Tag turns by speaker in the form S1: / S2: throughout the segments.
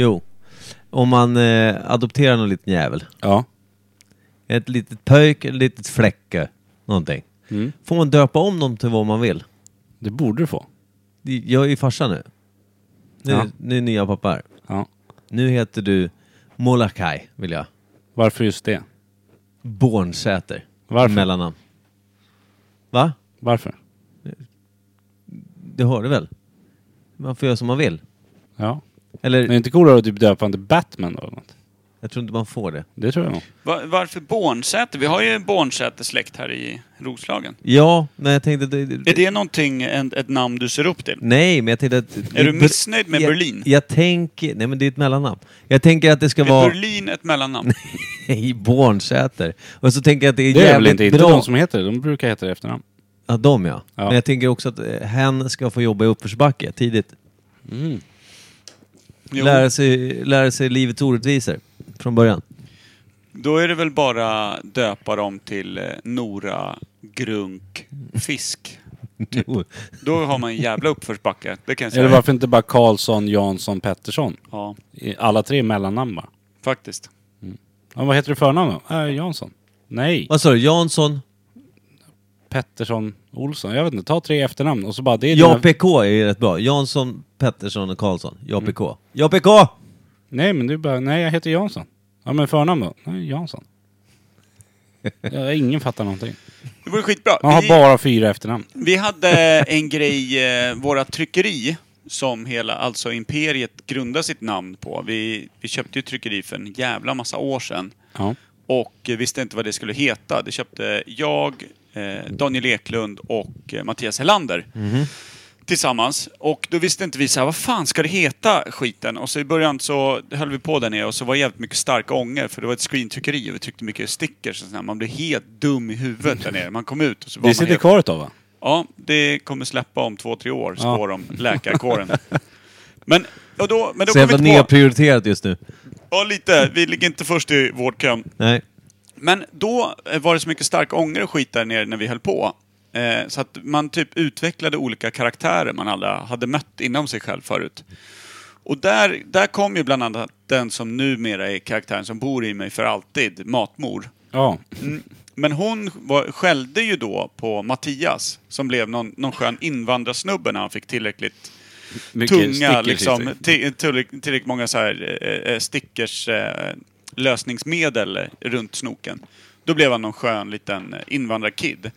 S1: Jo. Om man eh, adopterar någon liten jävel.
S2: Ja.
S1: Ett litet pöjk, ett litet fläcke, någonting.
S2: Mm.
S1: Får man döpa om dem till vad man vill?
S2: Det borde du få.
S1: Jag är ju farsa nu. Nu,
S2: Ja.
S1: nu är nya pappa här.
S2: Ja.
S1: Nu heter du Molakai, vill jag.
S2: Varför just det?
S1: Bornsäter.
S2: Varför?
S1: Mellannamn. Va?
S2: Varför?
S1: Du hörde väl? Man får göra som man vill.
S2: Ja.
S1: Eller,
S2: Men är det inte coolare att typ döpa honom till Batman då? Eller något?
S1: jag tror inte man får det.
S2: Det tror jag nog.
S3: Va- varför Bornsäter? Vi har ju en Bornsäter-släkt här i Roslagen.
S1: Ja, men jag tänkte... Det,
S3: Är det någonting, en, ett namn du ser upp till?
S1: Nej, men jag tänkte att...
S3: Är du missnöjd med
S1: jag,
S3: Berlin?
S1: Jag tänker... Nej, men det är ett mellannamn. Jag tänker att det ska
S3: Är
S1: vara...
S3: Berlin ett mellannamn?
S1: Nej, Bornsäter. Och så tänker jag att det är
S2: Det är väl
S1: jävligt
S2: inte, inte
S1: bra...
S2: de som heter det. De brukar heta det i efternamn.
S1: Ja, de ja.
S2: Ja.
S1: Men jag tänker också att eh, hen ska få jobba i uppförsbacke tidigt.
S3: Jo,
S1: Lära sig, lära sig livets orättvisor från början.
S3: då är det väl bara döpa dem till eh, Nora Grunk Fisk. Typ.
S1: Jo.
S3: Då har man en jävla uppförsbacke, det kan jag säga.
S2: Eller varför inte bara Karlsson, Jansson, Pettersson?
S3: Ja,
S2: I- Alla tre är mellannamn bara.
S3: faktiskt.
S2: Ja, vad heter du i förnamn då? Äh, Jansson. Nej.
S1: Vad sa du? Jansson?
S2: Pettersson, Olsson. Jag vet inte. Ta tre efternamn och så bara... Det är dina...
S1: JPK är ju rätt bra. Jansson, Pettersson och Karlsson.
S3: Mm.
S1: JPK. JPK!
S2: Nej, men du bara... Nej, jag heter Jansson. Ja, men förnamn då? Nej, Jansson. Ja, ingen fattar någonting.
S3: Det var ju skitbra.
S2: Man har
S3: Vi-
S2: bara fyra efternamn.
S3: Vi hade en grej, eh, våra tryckeri, som hela, alltså Imperiet grundar sitt namn på. Vi, vi köpte ju tryckeri för en jävla massa år sedan.
S2: Ja.
S3: Och eh, visste inte vad det skulle heta. Det köpte jag, eh, Daniel Eklund och eh, Mattias Helander.
S2: Mhm.
S3: Tillsammans. Och då visste inte vi så här, vad fan ska det heta skiten? Och så i början så höll vi på där nere och så var det jävligt mycket starka ånger för det var ett screentryckeri och vi tryckte mycket stickers och sådär. Man blev helt dum i huvudet där nere. Man kom ut och så var
S2: Det
S3: man
S2: sitter
S3: helt...
S2: kvar ett tag va?
S3: Ja, det kommer släppa om två, tre år,
S2: Ja.
S3: spår om läkarkåren. Men, och då, men då
S1: Så
S3: kom
S1: jävla
S3: vi inte på...
S1: nedprioriterat just nu.
S3: Ja, lite. Vi ligger inte först i vårdkön.
S1: Nej.
S3: Men då eh, var det så mycket stark ånger och skit där nere när vi höll på. Eh, så att man typ utvecklade olika karaktärer man alla hade mött inom sig själv förut. Och där, där kom ju bland annat den som numera är karaktären som bor i mig för alltid, Matmor.
S2: Ja.
S3: Men hon var, skällde ju då på Mattias, som blev någon, någon skön invandrarsnubbe när han fick tillräckligt tunga, liksom, till- tillräck- tillräckligt många så här, eh, eh, stickers eh, lösningsmedel runt snoken. Då blev han någon skön liten invandrarkid.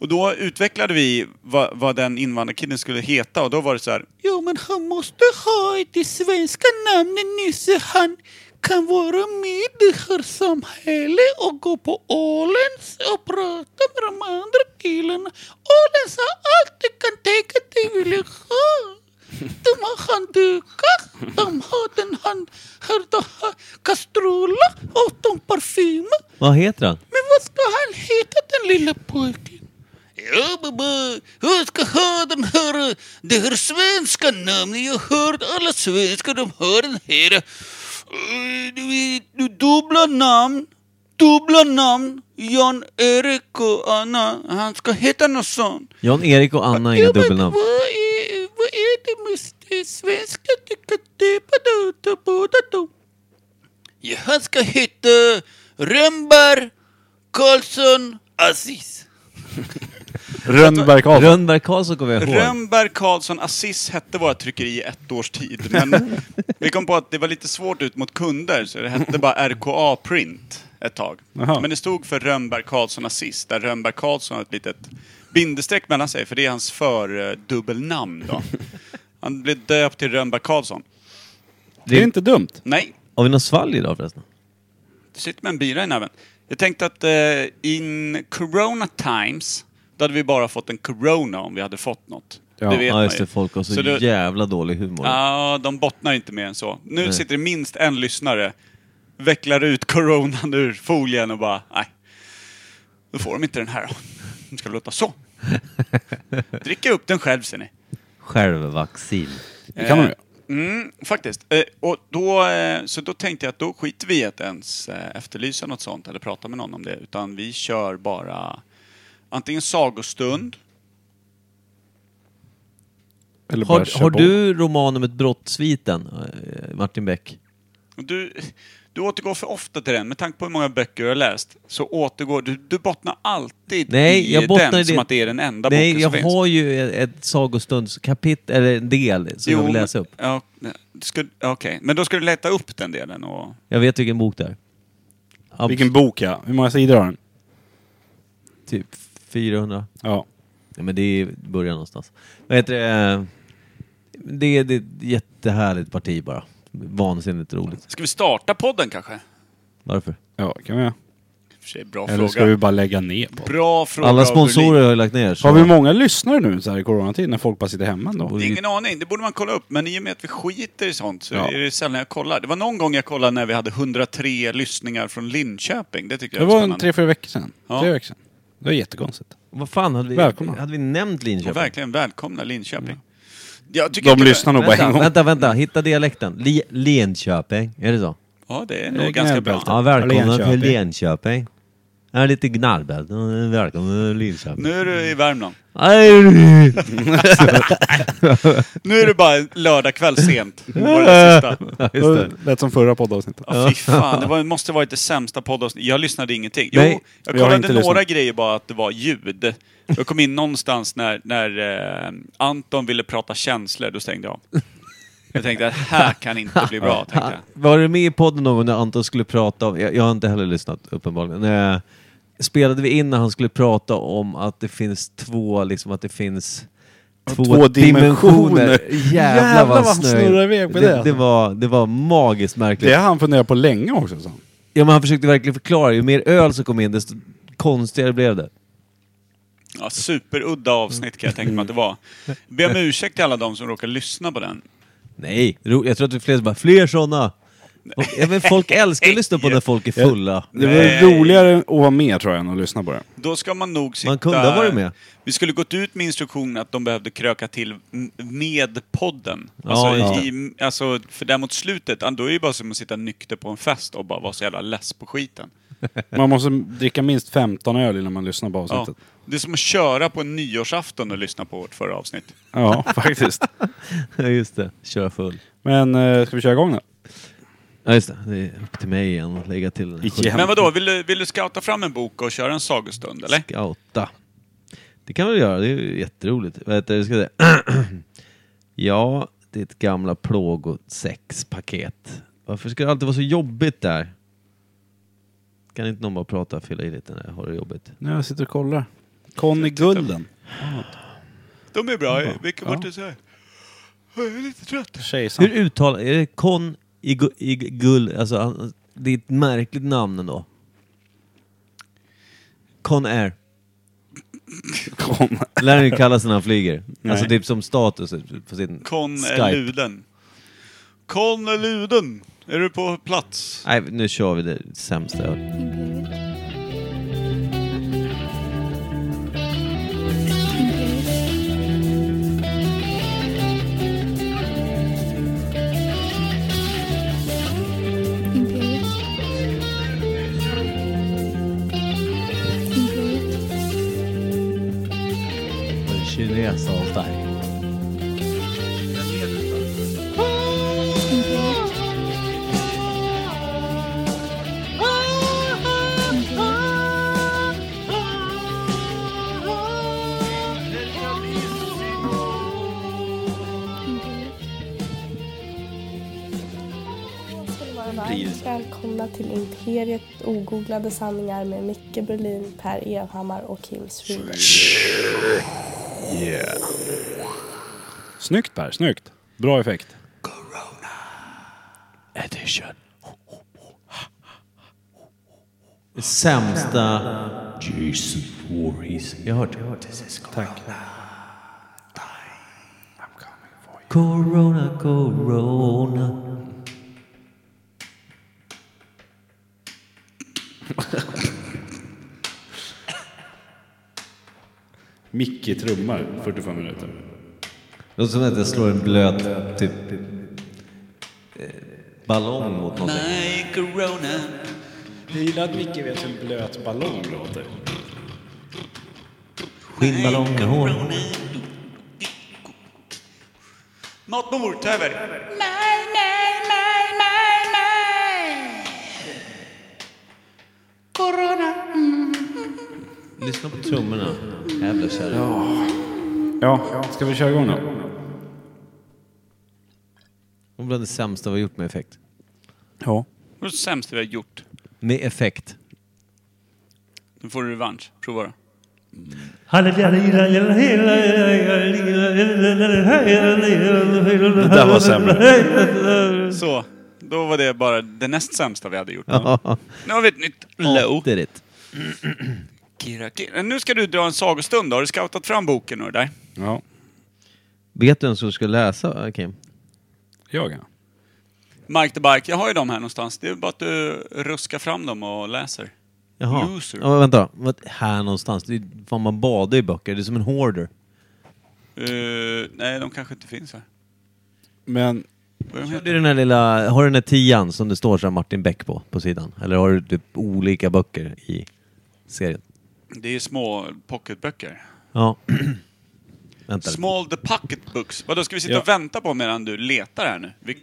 S3: Och då utvecklade vi vad, vad den invandrarkidden skulle heta och då var det så här.
S4: Ja, men han måste ha det svenska namnet Nisse. Han kan vara med i det här samhället och gå på Ålands och prata med de andra killarna. Ålands har allt du kan tänka dig vilja ha. De har handdukar, de har den hand, eh, här, de har kastruller och de parfymer.
S1: Vad heter han?
S4: Men vad ska han heta den lilla pojken? Ja, baba, jag ska ha den här, det här svenska namnet. Jag hörde alla svenskar, de har den här. eh, du vet, du Dubbla namn, dubbla namn. Jan, Erik och Anna. Han ska heta något sånt.
S1: Jan-Erik och Anna är inga
S4: Ja, men
S1: dubbelnamn.
S4: Vad är, vad är det med det svenska? Du kan döpa dig utav båda dem. Ja, han ska heta Rönnberg Karlsson Aziz.
S2: Rönnberg Karlsson.
S1: Rönnberg Karlsson kommer jag ihåg.
S3: Rönnberg, Karlsson, Aziz hette våra tryckeri i ett års tid. Men vi kom på att det var lite svårt ut mot kunder så det hette bara RKA Print ett tag.
S2: Jaha.
S3: Men det stod för Rönnberg, Karlsson, Aziz. Där Rönnberg, Karlsson har ett litet bindestreck mellan sig för det är hans fördubbelnamn då. Han blev döpt till Rönnberg, Karlsson.
S2: Det är inte dumt.
S3: Nej,
S1: Har vi något svalg idag förresten?
S3: Du sitter med en bira i näven. Jag tänkte att eh, in corona times, då hade vi bara fått en corona om vi hade fått något.
S2: Ja,
S3: det vet
S1: Ja,
S3: man
S1: just
S3: ju.
S1: det. Folk har så,
S3: Så du-
S1: jävla dålig humor.
S3: Ja, de bottnar inte mer än så. Nu sitter det minst en lyssnare, vecklar ut coronan ur folien och bara, nej. Då får de inte den här då. De ska låta så. Dricka upp den själv ser ni.
S1: Självvaccin.
S2: Det kan man ju.
S3: Mm, faktiskt. Eh, och då, eh, så då tänkte jag att då skiter vi i att ens eh, efterlysa något sånt eller prata med någon om det. Utan vi kör bara antingen sagostund
S5: Eller bara
S1: Har,
S5: kör
S1: har
S5: på.
S1: du romanumet Brottssviten, eh, Martin Beck?
S3: Och Du, du återgår för ofta till den. Med tanke på hur många böcker du har läst så återgår du. Du bottnar alltid
S1: Nej,
S3: i
S1: jag bottnar
S3: den
S1: i det-
S3: som att det är den enda
S1: Nej,
S3: boken
S1: jag
S3: som finns.
S1: har ju ett, ett sagostundskapitel, eller en del, som jag vill
S3: men-
S1: läsa upp.
S3: Ja, du ska- Okej, men då ska du leta upp den delen och...
S1: Jag vet vilken bok det är. Ja,
S2: Vilken bok ja. Hur många sidor har den?
S1: Typ 400.
S2: Ja.
S1: Ja, men det är i början någonstans. Vad heter det? Eh, Det är, det är ett jättehärligt parti bara. Vansinnigt roligt.
S3: Ska vi starta podden kanske? I
S1: Varför?
S2: Ja, kan vi göra.
S3: och för sig, bra
S2: Eller ska
S3: fråga.
S2: vi bara lägga ner på det?
S3: Bra fråga
S1: Alla
S3: av
S1: sponsorer har ju lagt ner. Så.
S2: Har vi många lyssnare nu så här i coronatid när folk bara sitter hemma ändå?
S3: Berlin. Ingen aning, det borde man kolla upp. Men i och med att vi skiter i sånt så
S2: Ja.
S3: är det sällan jag kollar. Det var någon gång jag kollade när vi hade 103 lyssningar från Linköping. Det tyckte
S2: Det
S3: jag var
S2: var en
S3: spännande.
S2: tre, fyra veckor sedan.
S3: Ja.
S2: Tre veckor sedan. Det var jättekonstigt.
S1: Vad fan, hade vi,
S2: Välkomna.
S1: hade vi nämnt
S3: Och
S1: Linköping?
S3: verkligen välkomna Linköping. Jag tycker
S2: De
S3: inte-
S2: lyssnar nog bara en
S1: Vänta,
S2: gång.
S1: vänta, vänta, hitta dialekten. Li- Lenköping, är det så?
S3: Ja, det är
S2: Det är
S3: nog ganska bra.
S2: gnällbältet.
S1: Ja, välkomna
S2: Lenköping.
S1: till Lenköping. Jag är lite gnarrbädd. Välkommen till Linköping.
S3: Nu är du i Värmland.
S1: Aj!
S3: Nu är det bara lördag kväll sent. Det var det sista.
S1: Just det.
S2: Lät som förra poddavsnittet.
S3: Ja, fy fan. Det var, måste varit det sämsta poddavsnittet. Jag lyssnade ingenting. Jo,
S1: Nej,
S3: jag
S2: har
S3: kollade
S2: inte
S3: några
S2: lyssnat.
S3: grejer bara att det var ljud. Jag kom in någonstans när, när eh, Anton ville prata känslor, då stängde jag av. Jag tänkte att här kan inte bli bra, tänkte jag.
S1: Var du med i podden någon gång när Anton skulle prata om, jag, jag har inte heller lyssnat uppenbarligen, eh, spelade vi in när han skulle prata om att det finns två, liksom att det finns två,
S2: två dimensioner.
S1: Jävlar,
S2: Jävlar
S1: vad
S2: vad
S1: han
S2: han snurrar iväg på det,
S1: Det,
S2: alltså.
S1: var, det var magiskt
S2: Det
S1: märkligt.
S2: har han funderat på länge också. Så.
S1: Ja, men han försökte verkligen förklara, ju mer öl som kom in desto konstigare blev det.
S3: Ja, superudda avsnitt kan jag tänka mig att det var. Be om ursäkt till alla de som råkar lyssna på den.
S1: Nej, ro, jag tror att det är fler som bara, fler sådana! Folk, ja, men folk älskar att lyssna på när folk är fulla.
S2: Det var
S3: Nej.
S2: roligare att vara med tror jag än att lyssna på det.
S3: Då ska man nog sitta...
S1: Man kunde ha varit med.
S3: Vi skulle gått ut med instruktionen att de behövde kröka till m- med podden.
S1: Ja,
S3: alltså,
S1: just
S3: i, alltså, för där mot slutet, då är det ju bara som att sitta nykter på en fest och bara vara så jävla less på skiten.
S2: Man måste dricka minst 15 öl innan man lyssnar på
S3: Ja.
S2: avsnittet.
S3: Det är som att köra på en nyårsafton och lyssna på vårt förra avsnitt.
S2: Ja, faktiskt.
S1: Ja, just det. Köra full.
S2: Men eh, ska vi köra igång då?
S1: Ja, just det. Det är upp till mig igen att lägga till den.
S2: Igen.
S3: Men vadå, vill du, vill du scouta fram en bok och köra en sagostund, eller?
S1: Scouta. Det kan vi göra, det är ju jätteroligt. Vad heter det? Ska jag säga? ja, ditt gamla plågosexpaket. Varför ska det alltid vara så jobbigt där? Kan inte någon bara prata och fylla i lite när jag har det jobbigt?
S2: Nu jag sitter och kollar. Conny Gulden.
S3: De är bra. Vilka
S2: Ja.
S3: vart du säger? Jag är lite trött.
S1: Hur
S2: Kejsaren.
S1: uttalar... Är det kon i, gu, i gull... Alltså, han- det är ett märkligt namn ändå. Con Air.
S2: Con.
S1: Lär han ju kalla sig när han flyger.
S2: Nej.
S1: Alltså typ som status på sin
S3: Kon är
S1: Skype.
S3: luden. Kon är luden. Är du på plats?
S1: Nej, nu kör vi det sämsta jag hört. Kines och allt där.
S6: ska ni vara varmt välkomna till Imperiet ogooglade sanningar med Micke Berlin, Per Evhammar och Kim Schreeder.
S2: Snyggt Per, snyggt. Bra effekt.
S1: Sämsta... Jason Voorhees. Jag har hört. Tack. Corona, corona.
S2: Micke trummar 45 minuter.
S1: Det låter som att jag slår en blöt typ, eh, ballong mot någonting.
S3: Nej, corona.
S2: Jag gillar att Micke vet hur en blöt ballong låter.
S1: Skinnballong med hår.
S3: Något Nortäver.
S4: Nej, nej, nej, nej, nej. Corona.
S1: Lyssna på trummorna. Jävla kärring.
S2: Ja, ska vi köra igång då?
S1: Det var bland det sämsta vi har gjort med effekt.
S2: Ja.
S3: Det var det sämsta vi har gjort.
S1: Med effekt.
S3: Nu får du revansch. Prova då.
S1: Det där var sämre.
S3: Så. Då var det bara det näst sämsta vi hade gjort.
S1: Ja.
S3: Nu har vi ett nytt low.
S1: Det är det.
S3: Kira, Kira. Nu ska du dra en sagostund då. Har du scoutat fram boken och det där?
S2: Ja.
S1: Vet du ens som ska läsa, Kim?
S2: Jag ja.
S3: Mike the Bike, jag har ju dem här någonstans. Det är bara att du ruskar fram dem och läser.
S1: Jaha.
S3: Loser.
S1: Ja, men vänta. Vad- Här någonstans. Det är, fan, man badar i böcker. Det är som en hoarder.
S3: Eh, nej, de kanske inte finns här.
S2: Men
S3: Vad är de
S1: Det
S3: heter?
S1: är den här lilla, har du den här tian som det står så här Martin Beck på, på sidan? Eller har du typ olika böcker i serien?
S3: Det är små pocketböcker.
S1: Ja. vänta.
S3: Small the pocket books. Vadå, ska vi sitta
S2: Ja.
S3: och vänta på medan du letar här nu? Vi...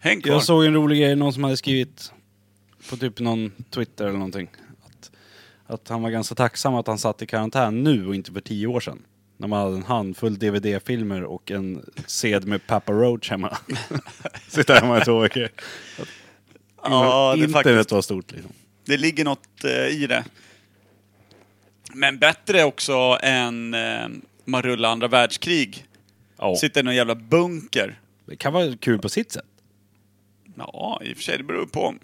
S3: Häng kvar.
S2: jag såg en rolig grej, någon som hade skrivit på typ någon Twitter eller någonting. Att, att han var ganska tacksam att han satt i karantän nu och inte för tio år sedan. När man hade en handfull DVD-filmer och en sed med Papa Roach hemma. Sitta hemma i två veckor.
S3: ja, det, är
S2: Internet
S3: faktiskt,
S2: var stort liksom.
S3: det ligger något eh, i det. Men bättre också än eh, man rullar andra världskrig.
S2: Ja.
S3: Sitta i någon jävla bunker.
S2: Det kan vara kul på sitt sätt.
S3: Ja, i och för sig, det beror på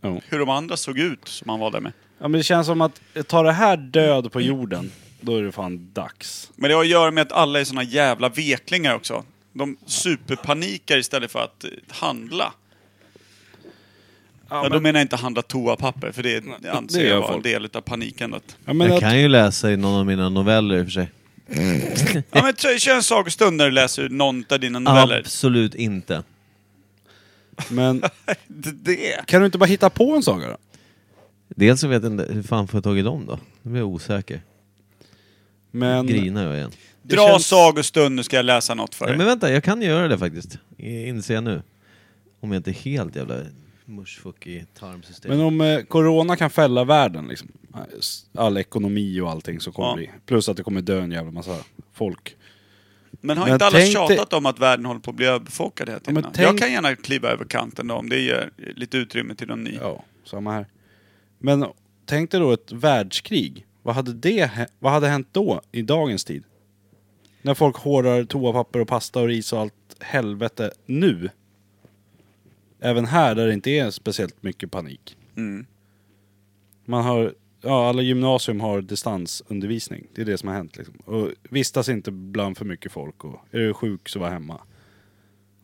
S2: Ja.
S3: hur de andra såg ut som han var där med.
S2: Ja, men det känns som att tar det här död på jorden, då är det fan dags.
S3: Men det har att göra med att alla är såna jävla veklingar också. De superpanikar istället för att eh, handla. Ja, Då menar jag inte handla toapapper, för det anser
S2: det gör
S3: jag vara en
S2: folk.
S3: del av panikandet.
S2: Ja, men
S1: Jag
S2: att,
S1: kan ju läsa i någon av mina noveller i och för sig.
S3: Ja, men kö- kör en sagostund när du läser ur någon av dina noveller.
S1: Absolut inte.
S2: men
S3: Det- Det.
S2: kan du inte bara hitta på en saga då?
S1: Dels så vet jag inte, hur fan får jag tag i dem då? Nu blir jag osäker.
S2: Men,
S1: Grinar jag igen.
S2: Det
S3: Dra
S2: känns-
S3: sagostund, nu ska jag läsa något för
S1: Nej,
S3: dig.
S1: men vänta, jag kan göra det faktiskt. I- Inser jag nu. Om jag inte är helt jävla mushfuck i tarmsystemet.
S2: men om eh, corona kan fälla världen, liksom, all ekonomi och allting så kommer
S3: Ja.
S2: vi. Plus att det kommer dö en jävla massa folk.
S3: Men har
S2: Men
S3: inte alla
S2: tänk
S3: tjatat om att världen håller på att bli överbefolkad hela tiden?
S2: men
S3: Jag
S2: tänk-
S3: kan gärna kliva över kanten då, om det ger lite utrymme till de nya.
S2: Ja, samma här. Men tänk dig då ett världskrig. Vad hade, det, hä- vad hade hänt då, i dagens tid? När folk hårdar toapapper och pasta och ris och allt helvete nu. Även här där det inte är speciellt mycket panik.
S3: Mm.
S2: Man har, ja alla gymnasium har distansundervisning. Det är det som har hänt liksom. Och vistas inte bland för mycket folk och är du sjuk så var hemma.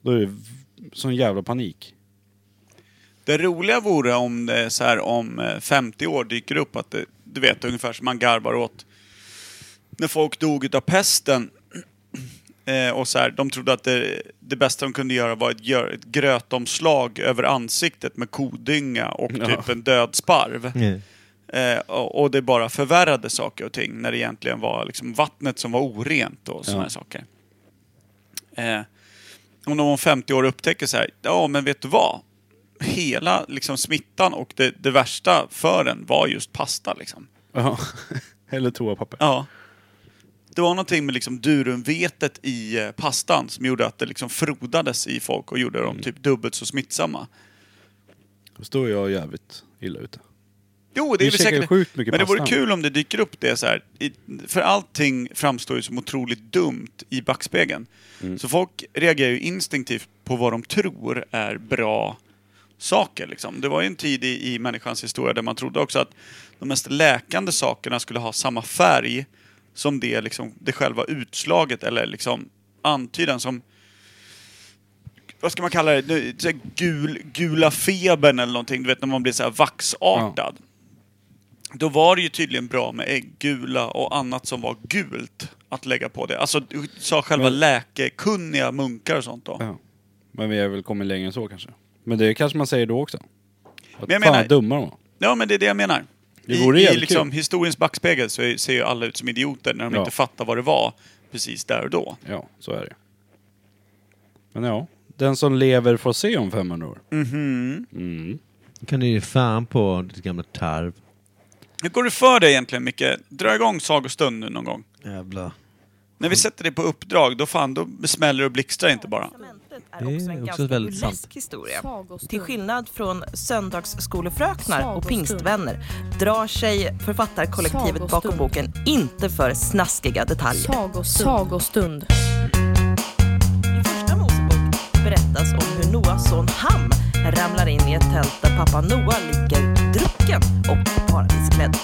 S2: Då är det v- sån jävla panik.
S3: Det roliga vore om det är så här om eh, 50 år dyker upp att det, du vet ungefär som man garvar åt när folk dog utav pesten. Eh, och så här, de trodde att det, det bästa de kunde göra var ett, gör, ett grötomslag över ansiktet med kodynga och typ en död sparv.
S1: Nej.
S3: Eh, och, och det bara förvärrade saker och ting när det egentligen var liksom vattnet som var orent och sådana
S2: Ja.
S3: här saker. Eh, om de om 50 år upptäcker så här, ja men vet du vad? Hela liksom, smittan och det, det värsta för den var just pasta liksom.
S2: Ja. Eller toapapper.
S3: Ja. Det var någonting med liksom durumvetet i eh, pastan som gjorde att det liksom frodades i folk och gjorde dem typ dubbelt så smittsamma.
S2: Då står jag jävligt illa ute.
S3: Jo, det
S2: Vi
S3: är väl
S2: käkar
S3: säkert.
S2: sjukt mycket
S3: men det vore
S2: pasta.
S3: kul om det dyker upp det så här. I, för allting framstår ju som otroligt dumt i backspegeln.
S2: Mm.
S3: Så folk reagerar ju instinktivt på vad de tror är bra saker. Liksom. Det var ju en tid i, i människans historia där man trodde också att de mest läkande sakerna skulle ha samma färg som det, liksom, det själva utslaget eller liksom antydan som vad ska man kalla det? Nu, så här Gul, gula febern eller någonting. Du vet när man blir så här vaxartad. Då var det ju tydligen bra med ägggula och annat som var gult att lägga på det. Alltså, du sa själva
S2: Men-
S3: läkekunniga munkar och sånt då.
S2: Ja. Men vi har väl kommit längre än så kanske. Men det kanske man säger då också. Att
S3: Men jag
S2: fan
S3: menar-
S2: vad dumma de var.
S3: Ja, men det är det jag menar.
S2: Det
S3: I
S2: vore
S3: i
S2: jävligt
S3: liksom,
S2: kul.
S3: historiens backspegel så är- ser ju alla ut som idioter när de
S2: Ja.
S3: inte fattar vad det var precis där och då.
S2: Ja, så är det Men ja, den som lever får se om 500 år.
S3: Mhm.
S2: Mm.
S1: kan du ge fan på ditt gamla tarv.
S3: Hur går det för dig egentligen Micke? Dra igång sagostund nu någon gång.
S1: Jävla.
S3: När
S2: Mm.
S3: vi sätter dig på uppdrag, då fan, då smäller det och blixtrar inte bara.
S5: Testamentet
S1: Det
S5: är
S1: är
S5: också en
S1: också
S5: ganska
S1: väldigt sant.
S5: burlesk historia.
S6: Sagostund.
S5: Till skillnad från söndagsskolefröknar och
S6: Sagostund.
S5: pingstvänner drar sig författarkollektivet bakom
S7: Sagostund.
S5: boken inte för snaskiga detaljer.
S7: Sagostund. Sagostund.
S5: I första Mosebok berättas om hur Noas son Ham ramlar in i ett tält där pappa Noa ligger drucken och paradisklädd.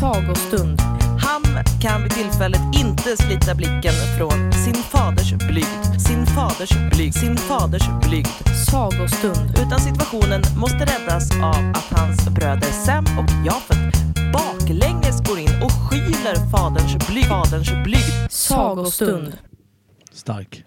S7: Sagostund.
S5: Ham kan vid tillfället inte slita blicken från sin faders blygd, sin faders blygd, sin faders blygd.
S7: Sagostund.
S5: utan situationen måste räddas av att hans bröder Sam och Jafet baklänges går in och skyler faderns blyg. Faderns blyg.
S7: Sagostund.
S1: Stark.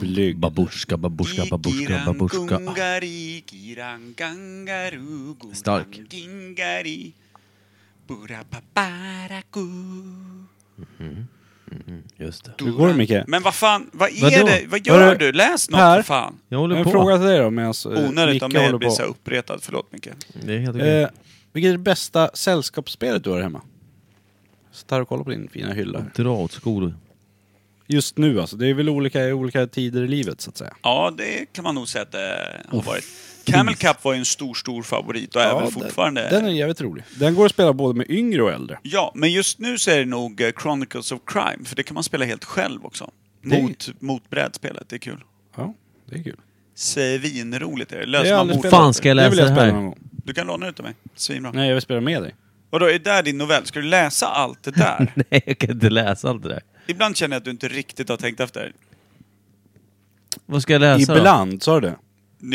S2: Blyg.
S1: Babushka, babushka, babushka, babushka.
S3: Gungari, girang, gangaru, gungang,
S1: Stark.
S3: Gingari, burapaparaku.
S1: Just det.
S2: Hur går det Micke?
S3: Men vad fan, vad är
S1: Vadå?
S3: det? Vad gör
S2: Hörru,
S3: du? Läs något
S2: här.
S3: för fan.
S1: Jag håller
S2: En
S1: på.
S2: fråga till dig då medans eh,
S3: Onödigt av
S2: Micke
S3: mig att
S2: håller
S3: bli så här
S2: på.
S3: uppretad. Förlåt Micke.
S1: Det är helt okej.
S2: Eh, vilket är det bästa sällskapsspelet du har hemma? Så tar och kollar på din fina hylla.
S1: Dra åt skor.
S2: Just nu alltså, det är väl olika i olika tider i livet så att säga.
S3: Ja, det kan man nog säga att det har varit. Camel Cup var ju en stor, stor favorit och är väl fortfarande.
S2: Den, den är jävligt rolig. Den går att spela både med yngre och äldre.
S3: Ja, men just nu så är det nog eh, Chronicles of Crime, för det kan man spela helt själv också.
S2: Det-
S3: Mot, mot brädspelet, det är kul.
S2: Ja, det är kul.
S3: Svinroligt är
S2: Det har
S3: det. Löser
S2: jag
S3: man
S2: aldrig
S3: mord.
S2: spelat.
S1: Fan, ska jag läsa
S2: vill jag
S1: det
S2: spela
S1: här?
S2: någon gång.
S3: Du kan låna det utav mig. Svinbra.
S2: Nej, jag vill spela med dig.
S3: Vadå, är det där din novell? Ska du läsa allt det där?
S1: Nej, jag kan inte läsa allt det där.
S3: Ibland känner jag att du inte riktigt har tänkt efter.
S1: Vad ska jag läsa då?
S2: Ibland, sa du det?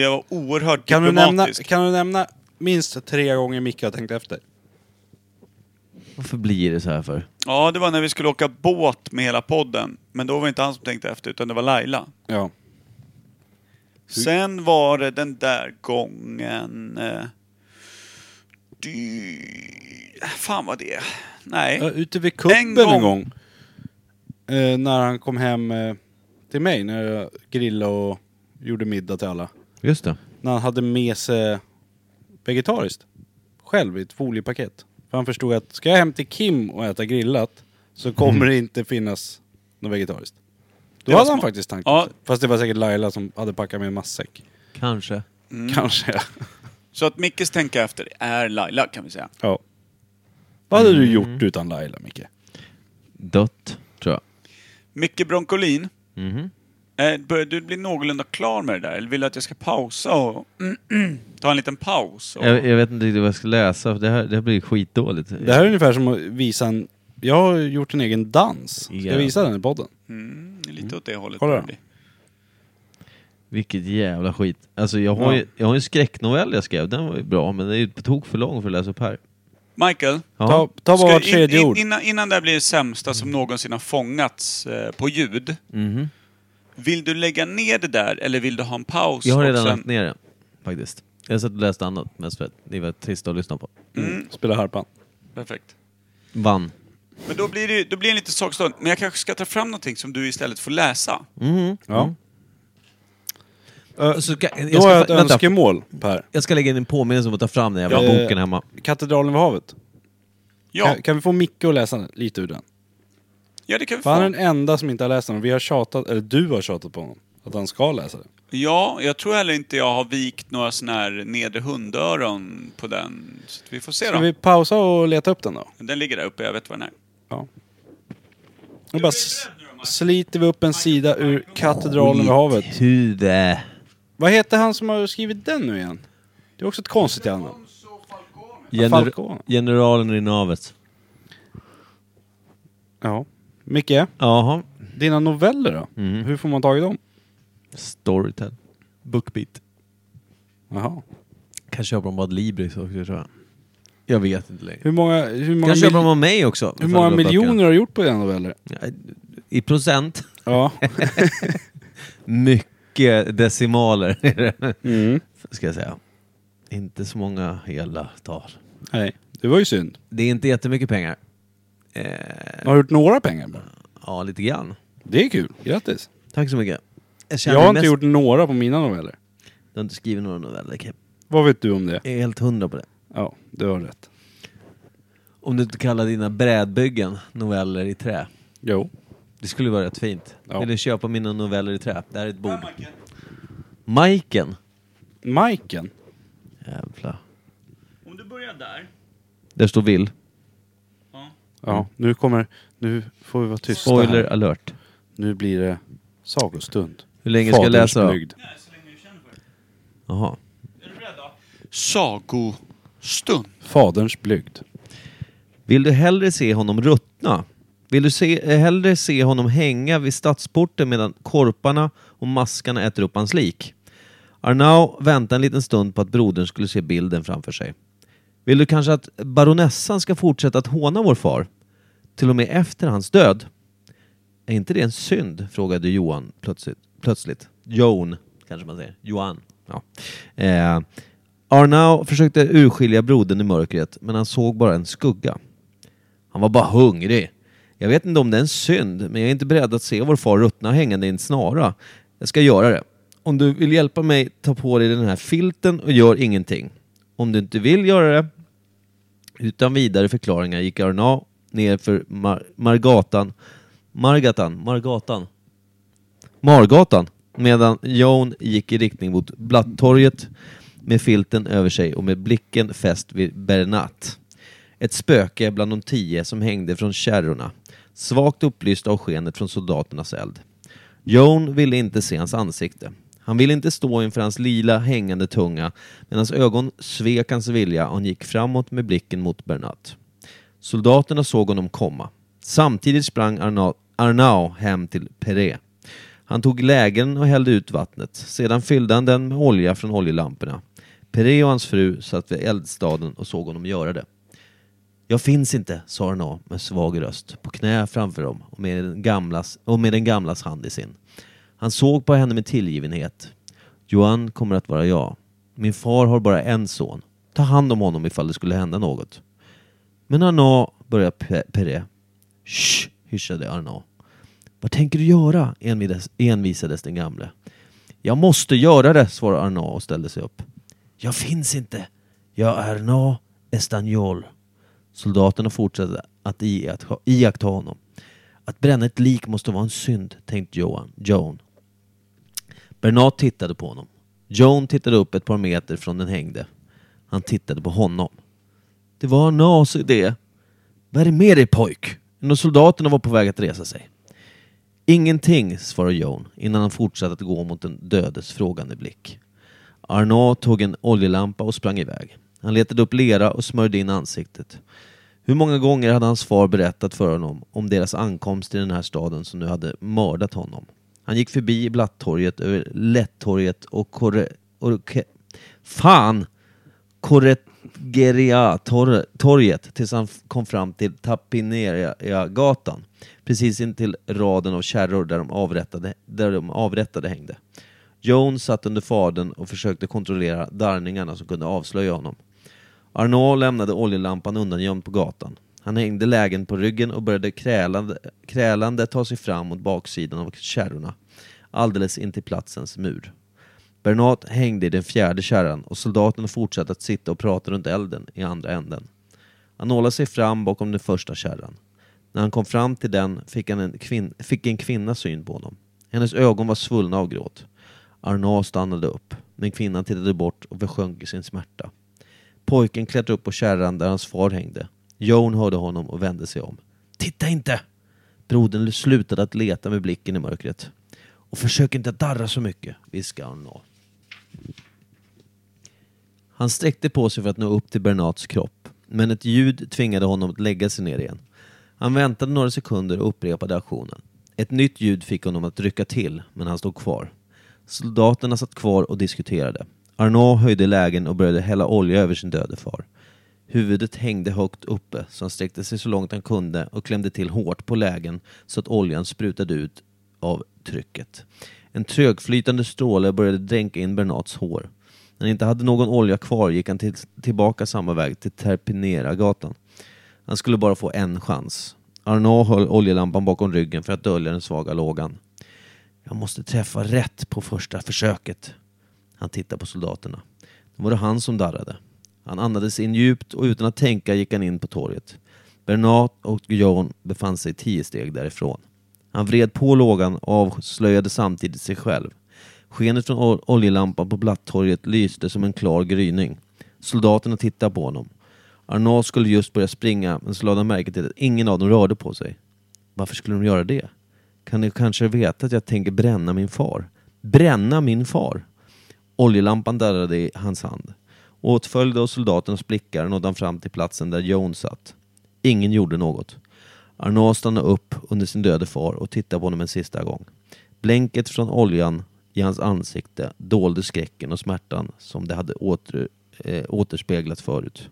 S3: Jag var oerhört
S2: Kan du, nämna,
S3: diplomatisk.
S2: kan du nämna minst tre gånger Micke har tänkt efter?
S1: Varför blir det så här för?
S3: Ja, det var när vi skulle åka båt med hela podden. Men då var det inte han som tänkte efter, utan det var Laila.
S2: Ja.
S3: Sen var det den där gången... Eh, dy... Fan vad det... Nej.
S2: Ja, ute vid kuppen
S3: En
S2: en
S3: gång.
S2: gång. eh, när han kom hem eh, till mig när jag grillade och gjorde middag till alla.
S1: Just det.
S2: När han hade med sig vegetariskt. Själv i ett foliepaket. För han förstod att ska jag hem till Kim och äta grillat så
S3: Mm.
S2: kommer det inte finnas något vegetariskt. Då
S3: var
S2: hade han
S3: smart.
S2: faktiskt tanken.
S3: Ja.
S2: Fast det var säkert Laila som hade packat med en matsäck.
S1: Kanske.
S3: Mm.
S2: Kanske.
S3: Så att Mickes tänka efter är Laila, kan vi säga.
S2: Ja. Vad hade
S3: Mm.
S2: du gjort utan Laila, Micke?
S1: Dött, tror jag.
S3: Micke Broncolin,
S1: Mhm.
S3: eh, börjar du bli någorlunda klar med det där? Eller vill du att jag ska pausa och... ta en liten paus? Och...
S1: Jag, jag vet inte riktigt vad jag ska läsa, för det här, det här blir skitdåligt.
S2: Det här är ungefär som att visa en... Jag har gjort en egen dans. Ska
S1: Ja.
S2: jag visa den i podden?
S3: Mm, lite åt det hållet.
S2: Kolla
S3: börjar
S2: då.
S3: det bli.
S1: Vilket jävla skit. Alltså jag har, ju, jag har ju en skräcknovell jag skrev, den var ju bra, men den är ju på tok för lång för att läsa upp här.
S3: Michael,
S1: Ja.
S2: Ta, ta bara vart
S3: in-
S2: tredje
S3: in-
S2: ord.
S3: Innan, innan det här blir det sämsta som någonsin har fångats eh, på ljud.
S1: Mhm.
S3: Vill du lägga ner det där eller vill du ha en paus?
S1: Jag har
S3: och
S1: redan
S3: sen-
S1: lagt ner den, faktiskt. Jag satt och läste annat mest för att det var trist att lyssna på.
S3: Mm,
S2: Spela harpan.
S3: perfekt.
S1: Vann.
S3: Men då blir det, ju- då blir det en liten sakstund. Men jag kanske ska ta fram någonting som du istället får läsa.
S1: Mhm.
S2: Ja.
S3: Mm.
S2: Eh,
S1: Så ska, jag,
S2: Då har jag
S1: ska,
S2: ett
S1: vänta,
S2: önskemål, Per.
S1: jag ska lägga in en påminnelse om att ta fram den jävla
S2: Ja.
S1: boken hemma.
S2: Katedralen vid havet.
S3: Ja,
S2: Kan, kan vi få Micke att läsa lite ur den?
S3: ja det kan vi
S2: För han är
S3: få.
S2: den enda som inte har läst den. Vi har tjatat, eller du har tjatat på honom. Att han ska läsa den.
S3: Ja, jag tror heller inte jag har vikt några såna här nedre hundöron på den. Så att vi får se
S2: Ska
S3: då.
S2: vi pausa och leta upp den då?
S3: Den ligger där uppe, jag vet vad den är.
S2: Ja. Nu bara s- sliter vi upp en sida ur Katedralen vid havet.
S1: Huvud.
S2: Vad heter han som har skrivit den nu igen? Det är också ett konstigt jävla namn.
S1: Gener
S2: Falcone.
S1: generalen i navet.
S2: Ja. Micke,
S1: Jaha.
S2: dina noveller då?
S1: Mm.
S2: Hur får man tag i dem?
S1: Storytel. Bookbeat.
S2: Jaha.
S1: Kan köpa dem av Libris också tror jag. Jag vet inte längre.
S2: Hur många, hur många,
S1: Kan köpa dem
S2: mil-
S1: av mig också.
S2: hur många
S1: För böckerna.
S2: miljoner har du gjort på dina noveller?
S1: Ja, I procent.
S2: Ja.
S1: Mycket decimaler är det,
S2: Mm.
S1: ska jag säga. Inte så många hela tal.
S2: Nej, det var ju synd.
S1: Det är inte jättemycket pengar. Eh,
S2: Har du gjort några pengar bara?
S1: Ja, lite grann.
S2: Det är kul, grattis.
S1: Tack så mycket. Jag, känner
S2: Jag har
S1: mest...
S2: inte gjort några på mina noveller.
S1: Du har inte skrivit några noveller, Kim.
S2: Vad vet du om det?
S1: Jag är helt hundra på det.
S2: Ja, du har rätt.
S1: Om du inte kallar dina brädbyggen noveller i trä.
S2: Jo.
S1: Det skulle vara rätt fint.
S2: Ja.
S1: Eller köpa mina noveller i trä. Det här är ett bord. Majken.
S2: Majken?
S1: Jävlar.
S3: Om du börjar där.
S1: Där står vill.
S2: Ja, nu kommer... Nu får vi vara tysta
S1: Spoiler
S2: här.
S1: alert.
S2: Nu blir det sagostund.
S1: Hur länge ska jag
S2: Faderns
S1: läsa då?
S2: mygd.
S3: Nej, så länge du känner för det.
S1: Jaha.
S3: Är du beredd då? Sagostund.
S2: Faderns blygd.
S1: Vill du hellre se honom ruttna? Vill du se, eh, hellre se honom hänga vid stadsporten medan korparna och maskarna äter upp hans lik? Arnau väntade en liten stund på att brodern skulle se bilden framför sig. Vill du kanske att baronessan ska fortsätta att håna vår far? Till och med efter hans död? Är inte det en synd? frågade Johan plötsligt. plötsligt. Jon, kanske man säger. Johan. Ja. Eh, Arnau försökte urskilja brodern i mörkret, men han såg bara en skugga. Han var bara hungrig. Jag vet inte om det är en synd, men jag är inte beredd att se vår far ruttna hängande i en snara. Jag ska göra det. Om du vill hjälpa mig, ta på dig den här filten och gör ingenting. Om du inte vill göra det, utan vidare förklaringar gick Arnau ner för Mar- Margatan, Margatan, Margatan, Margatan, medan Joan gick i riktning mot Blattorget med filten över sig och med blicken fäst vid Bernat. Ett spöke bland de tio som hängde från kärrorna, svagt upplyst av skenet från soldaternas eld. Joan ville inte se hans ansikte. Han ville inte stå inför hans lila hängande tunga, men hans ögon svek hans vilja och han gick framåt med blicken mot Bernat. Soldaterna såg honom komma. Samtidigt sprang Arnau, Arnau hem till Perret. Han tog lägen och hällde ut vattnet. Sedan fyllde han den med olja från oljelamporna. Perret och hans fru satt vid eldstaden och såg honom göra det. Jag finns inte, sa Arnaud med svag röst, på knä framför dem och med, den gamlas, och med den gamlas hand i sin. Han såg på henne med tillgivenhet. Johan kommer att vara jag. Min far har bara en son. Ta hand om honom ifall det skulle hända något. Men Arnaud, började Pe- Perret. Shh, hyschade Arnaud. Vad tänker du göra? envides- envisades den gamle. Jag måste göra det, svarade Arnaud och ställde sig upp. Jag finns inte. Jag är Arnaud Estagnol. Soldaterna fortsatte att iaktta, iaktta honom. Att bränna ett lik måste vara en synd, tänkte Johan, Joan. Bernard tittade på honom. Joan tittade upp ett par meter från den hängde. Han tittade på honom. Det var Arnauds idé. Vad är det med dig pojk? En av soldaterna var på väg att resa sig. Ingenting, svarade Joan innan han fortsatte att gå mot den dödes frågande blick. Arnaud tog en oljelampa och sprang iväg. Han letade upp lera och smörjde in ansiktet. Hur många gånger hade hans far berättat för honom om deras ankomst till den här staden som nu hade mördat honom? Han gick förbi Blattorget, över Lättorget och korre... Och, ke, fan! Corregeria-torget tills han f- kom fram till Tapineria-gatan. Precis intill raden av kärror där de avrättade, där de avrättade hängde. Jones satt under fadern och försökte kontrollera darningarna som kunde avslöja honom. Arnaud lämnade oljelampan undangömd på gatan. Han hängde lägen på ryggen och började krälande, krälande ta sig fram mot baksidan av kärrorna, alldeles intill platsens mur. Bernat hängde i den fjärde kärran och soldaterna fortsatte att sitta och prata runt elden i andra änden. Han nålade sig fram bakom den första kärran. När han kom fram till den fick, han en, kvin- fick en kvinna syn på honom. Hennes ögon var svullna av gråt. Arnaud stannade upp, men kvinnan tittade bort och försjönk i sin smärta. Pojken klättrade upp på kärran där hans far hängde. Joan hörde honom och vände sig om. Titta inte! Brodern slutade att leta med blicken i mörkret. Och försök inte att darra så mycket, viskade Arnaud. Han sträckte på sig för att nå upp till Bernats kropp, men ett ljud tvingade honom att lägga sig ner igen. Han väntade några sekunder och upprepade aktionen. Ett nytt ljud fick honom att rycka till, men han stod kvar. Soldaterna satt kvar och diskuterade. Arnaud höjde lägen och började hälla olja över sin döde far. Huvudet hängde högt uppe, så han sträckte sig så långt han kunde och klämde till hårt på lägen så att oljan sprutade ut av trycket. En trögflytande stråle började dränka in Bernats hår. När han inte hade någon olja kvar gick han till, tillbaka samma väg till Terpinera-gatan. Han skulle bara få en chans. Arnaud höll oljelampan bakom ryggen för att dölja den svaga lågan. Jag måste träffa rätt på första försöket. Han tittade på soldaterna. Det var det han som darrade. Han andades in djupt och utan att tänka gick han in på torget. Bernat och Guillaume befann sig tio steg därifrån. Han vred på lågan och avslöjade samtidigt sig själv. Skenet från ol- oljelampan på Blattorget lyste som en klar gryning. Soldaterna tittade på honom. Arnaud skulle just börja springa men så lade han märke till att ingen av dem rörde på sig. Varför skulle de göra det? Kan ni kanske veta att jag tänker bränna min far? Bränna min far? Oljelampan darrade i hans hand. Åtföljd av soldaternas blickar nådde han fram till platsen där Jones satt. Ingen gjorde något. Arnaud stannade upp under sin döde far och tittade på honom en sista gång. Blänket från oljan i hans ansikte dolde skräcken och smärtan som det hade åter, eh, återspeglat förut.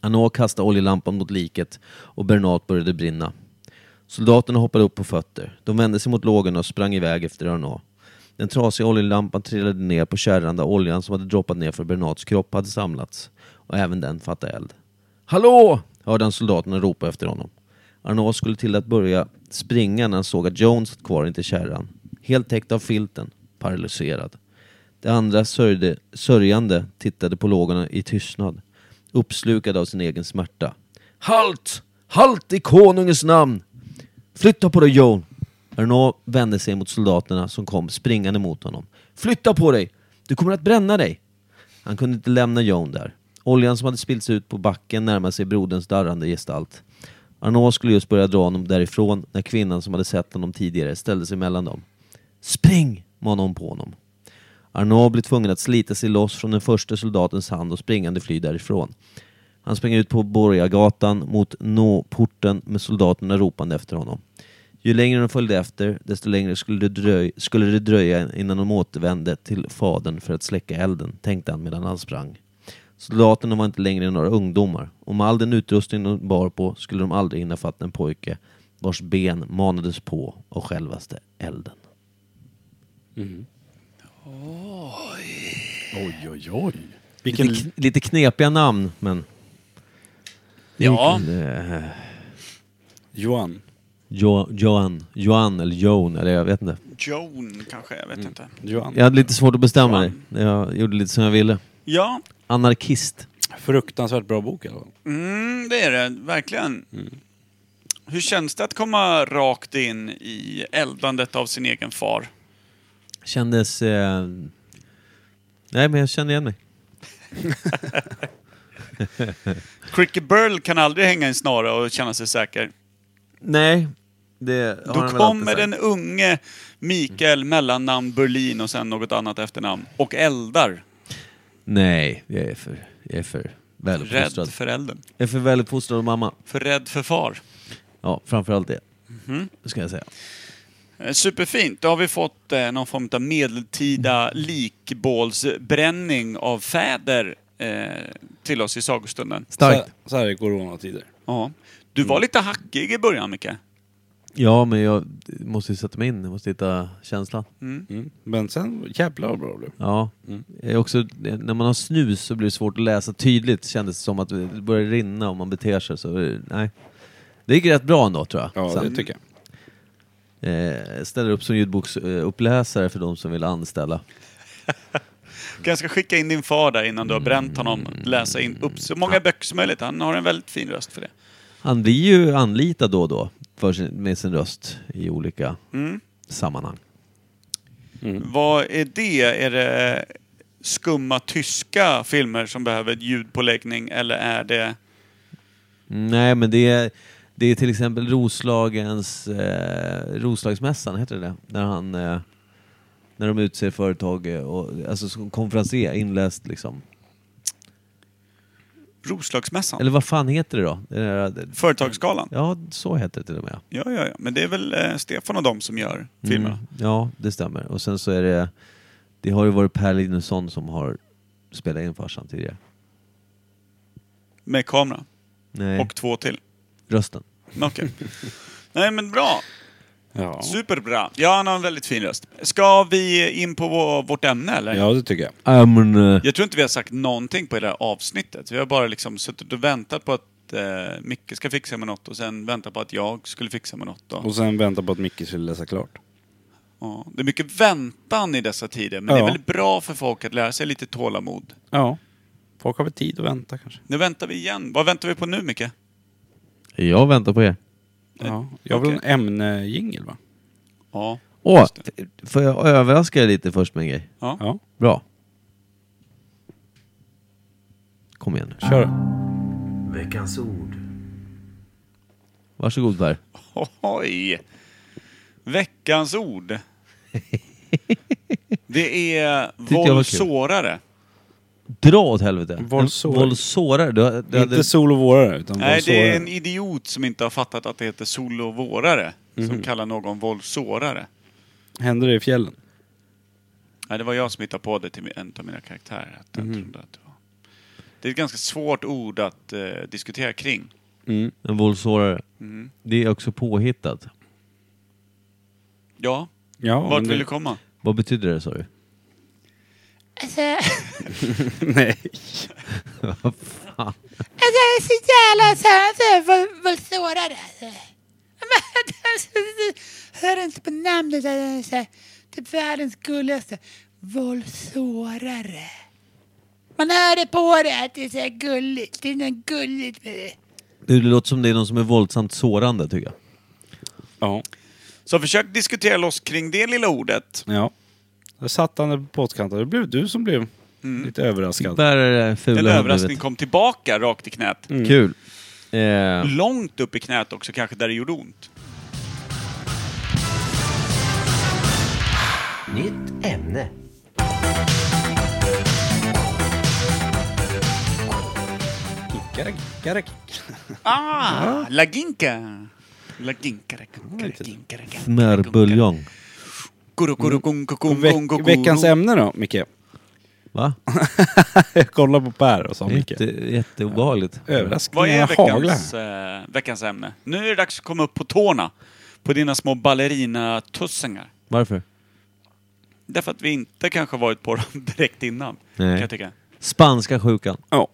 S1: Arnaud kastade oljelampan mot liket och Bernat började brinna. Soldaterna hoppade upp på fötter. De vände sig mot lågorna och sprang iväg efter Arnaud. Den trasiga oljelampan trillade ner på kärran där oljan som hade droppat ner från Bernats kropp hade samlats. Och även den fattade eld. Hallå! hörde han soldaterna ropa efter honom. Arnaud skulle till att börja springa när han såg att Jones satt kvar intill kärran. Helt täckt av filten, paralyserad. De andra sörjde, sörjande tittade på lågorna i tystnad, uppslukade av sin egen smärta. Halt! Halt i konungens namn! Flytta på dig Joan! Arnaud vände sig mot soldaterna som kom springande mot honom. Flytta på dig! Du kommer att bränna dig! Han kunde inte lämna Joan där. Oljan som hade spillts ut på backen närmade sig broderns darrande gestalt. Arnaud skulle just börja dra honom därifrån när kvinnan som hade sett honom tidigare ställde sig mellan dem. Spring! manade hon på honom. Arnaud blev tvungen att slita sig loss från den första soldatens hand och springande fly därifrån. Han sprang ut på Borgagatan mot Nåporten med soldaterna ropande efter honom. Ju längre de följde efter, desto längre skulle det, dröj, skulle det dröja innan de återvände till fadern för att släcka elden, tänkte han medan han sprang. Soldaterna var inte längre några ungdomar och med all den utrustning de bar på skulle de aldrig hinna fatta en pojke vars ben manades på av självaste elden.
S8: Oj, oj, oj.
S2: Vilken...
S1: Lite, k- lite knepiga namn, men... Mm.
S3: Ja,
S2: Johan.
S1: Jo, Johan, Johan eller Joan, eller jag vet inte.
S3: Joan kanske, jag vet
S1: Mm.
S3: inte.
S2: Johan.
S1: Jag hade lite svårt att bestämma mig. Jag gjorde lite som jag ville.
S3: Ja,
S1: Anarkist.
S2: Fruktansvärt bra bok i alla fall.
S3: mm, det är det, verkligen.
S1: Mm.
S3: Hur känns det att komma rakt in i eldandet av sin egen far?
S1: Kändes... Eh... Nej, men jag kände igen mig.
S3: Cricky Burl kan aldrig hänga i en snara och känna sig säker.
S1: Nej, det har han
S3: Då
S1: väl alltid
S3: kommer
S1: sagt.
S3: den unge Mikael mellannamn Berlin och sen något annat efternamn och eldar.
S1: Nej, jag är för, jag är för väluppfostrad.
S3: Rädd för elden.
S1: Jag är för väluppfostrad av mamma.
S3: För rädd för far.
S1: Ja, framförallt det.
S3: Mhm.
S1: Ska jag säga.
S3: Eh, Superfint. Då har vi fått eh, någon form av medeltida likbålsbränning av fäder eh, till oss i sagostunden.
S1: Starkt.
S2: Så här- Så här i coronatider.
S3: Ja. Du var lite hackig i början, Micke.
S1: Ja, men jag måste ju sätta mig in. Jag måste hitta känslan.
S2: Mm. Men sen, jävlar vad bra det blev.
S1: Ja.
S2: Mm.
S1: Eh, Också, eh, när man har snus så blir det svårt att läsa tydligt. Kändes det som att det börjar rinna om man beter sig. Så, eh, nej. Det gick rätt bra ändå tror jag.
S2: Ja,
S1: Sen,
S2: det tycker jag.
S1: eh, ställer upp som ljudboksuppläsare för de som vill anställa.
S3: Kanske skicka in din far där innan du har bränt honom. Läsa in upp så många böcker som möjligt. Han har en väldigt fin röst för det.
S1: Han blir ju anlitad då och då för sin, med sin röst i olika sammanhang.
S3: Mm. Vad är det? Är det skumma tyska filmer som behöver ljudpåläggning eller är det...
S1: Nej, men det är, det är till exempel Roslagens, eh, Roslagsmässan, heter det När han, eh, när de utser företag eh, och, alltså som konferenser, inläst liksom.
S3: Roslagsmässan?
S1: Eller vad fan heter det då? Det där,
S3: Företagsgalan?
S1: ja, så heter det till och med.
S3: Ja, ja, ja. Men det är väl eh, Stefan och de som gör filmerna?
S1: Mm, ja, det stämmer. Och sen så är det, det har ju varit Per Linusson som har spelat in farsan tidigare.
S3: Med kamera?
S1: Nej,
S3: Och två till?
S1: rösten.
S3: Men Okej. Nej, men bra.
S2: Ja.
S3: Superbra. Ja, han har en väldigt fin röst. Ska vi in på vår, vårt ämne, eller?
S2: ja, det tycker jag.
S1: Ja, men, eh,
S3: Jag tror inte vi har sagt någonting på det här avsnittet. Vi har bara liksom suttit och väntat på att att eh, Micke ska fixa med något och sen vänta på att jag skulle fixa med något. Då.
S2: Och sen vänta på att Micke skulle läsa klart.
S3: ja. Det är mycket väntan i dessa tider, men
S2: Ja.
S3: det är väl bra för folk att lära sig lite tålamod.
S2: Ja. Folk har väl tid att vänta kanske.
S3: Nu väntar vi igen. Vad väntar vi på nu, Micke?
S1: Jag väntar på er.
S2: Ja. Jag vill ha en ämnejingel va?
S3: Ja.
S1: Åh,
S3: Just det.
S1: f- får jag överraska er lite först med en grej?
S2: Ja.
S1: Bra. Kom igen nu.
S2: Kör.
S1: Veckans ord. Varsågod Per.
S3: Oj! Veckans ord. Det är
S1: jag var kul.
S3: våldsårare.
S1: Dra åt helvete. En
S2: Våldsår.
S1: Våldsårare. Du, har- du hade...
S2: Inte sol och vårare utan
S3: Nej, det
S2: våldsårare.
S3: är en idiot som inte har fattat att det heter solovårare.
S1: Mhm.
S3: Som kallar någon våldsårare.
S2: Händer det i fjällen?
S3: Nej, det var jag som hittade på det till en av mina karaktärer. Att jag
S1: Mhm.
S3: trodde att det, var. det är ett ganska svårt ord att eh, diskutera kring.
S1: En våldsårare. Det är också påhittat.
S3: Ja,
S2: Ja,
S3: vart
S2: men
S3: vill
S2: det-
S3: du komma?
S1: Vad betyder det sa du?
S4: Alltså, alltså
S2: Nej.
S4: Alltså, jag är så jävla så här, alltså, så här, våld- våldsårare. Alltså. Men, alltså, Hör inte på namnet. Alltså, så här, typ världens gulligaste. Våldsårare. Man hör det på det att det är så här gulligt. Det är något gulligt med det.
S1: Det låter som det är någon som är våldsamt sårande tycker jag.
S2: Ja.
S3: Så försök diskutera loss kring det lilla ordet.
S2: Ja. Där satt han där på påskanten. Det blev du som blev
S3: Mm.
S2: lite överraskad.
S1: Där är det fula
S3: En
S1: har
S3: överraskning
S1: blivit. Mm.
S3: kom tillbaka rakt i knät.
S1: Kul. Eh,
S3: Långt upp i knät också kanske, där det gjorde ont.
S8: Nytt ämne.
S3: Ah, la ginka! La ginka, la ginka, la ginka, la ginka.
S1: smörbuljong.
S3: Kuru, kuru, kung, kung, kung, kung, kung,
S2: Veck, veckans
S3: kung.
S2: ämne då, Micke?
S1: Va?
S2: Jag kollar på Per och sa Micke.
S1: Jätte, jätteobehagligt.
S3: Vad är
S2: Överraskningarna haglar.
S3: veckans, eh, veckans ämne? Nu är det dags att komma upp på tårna. På dina små ballerinatussingar.
S1: Varför?
S3: Därför att vi inte kanske varit på dem direkt innan.
S1: Nej.
S3: Kan jag tycka.
S1: Spanska sjukan.
S2: Ja.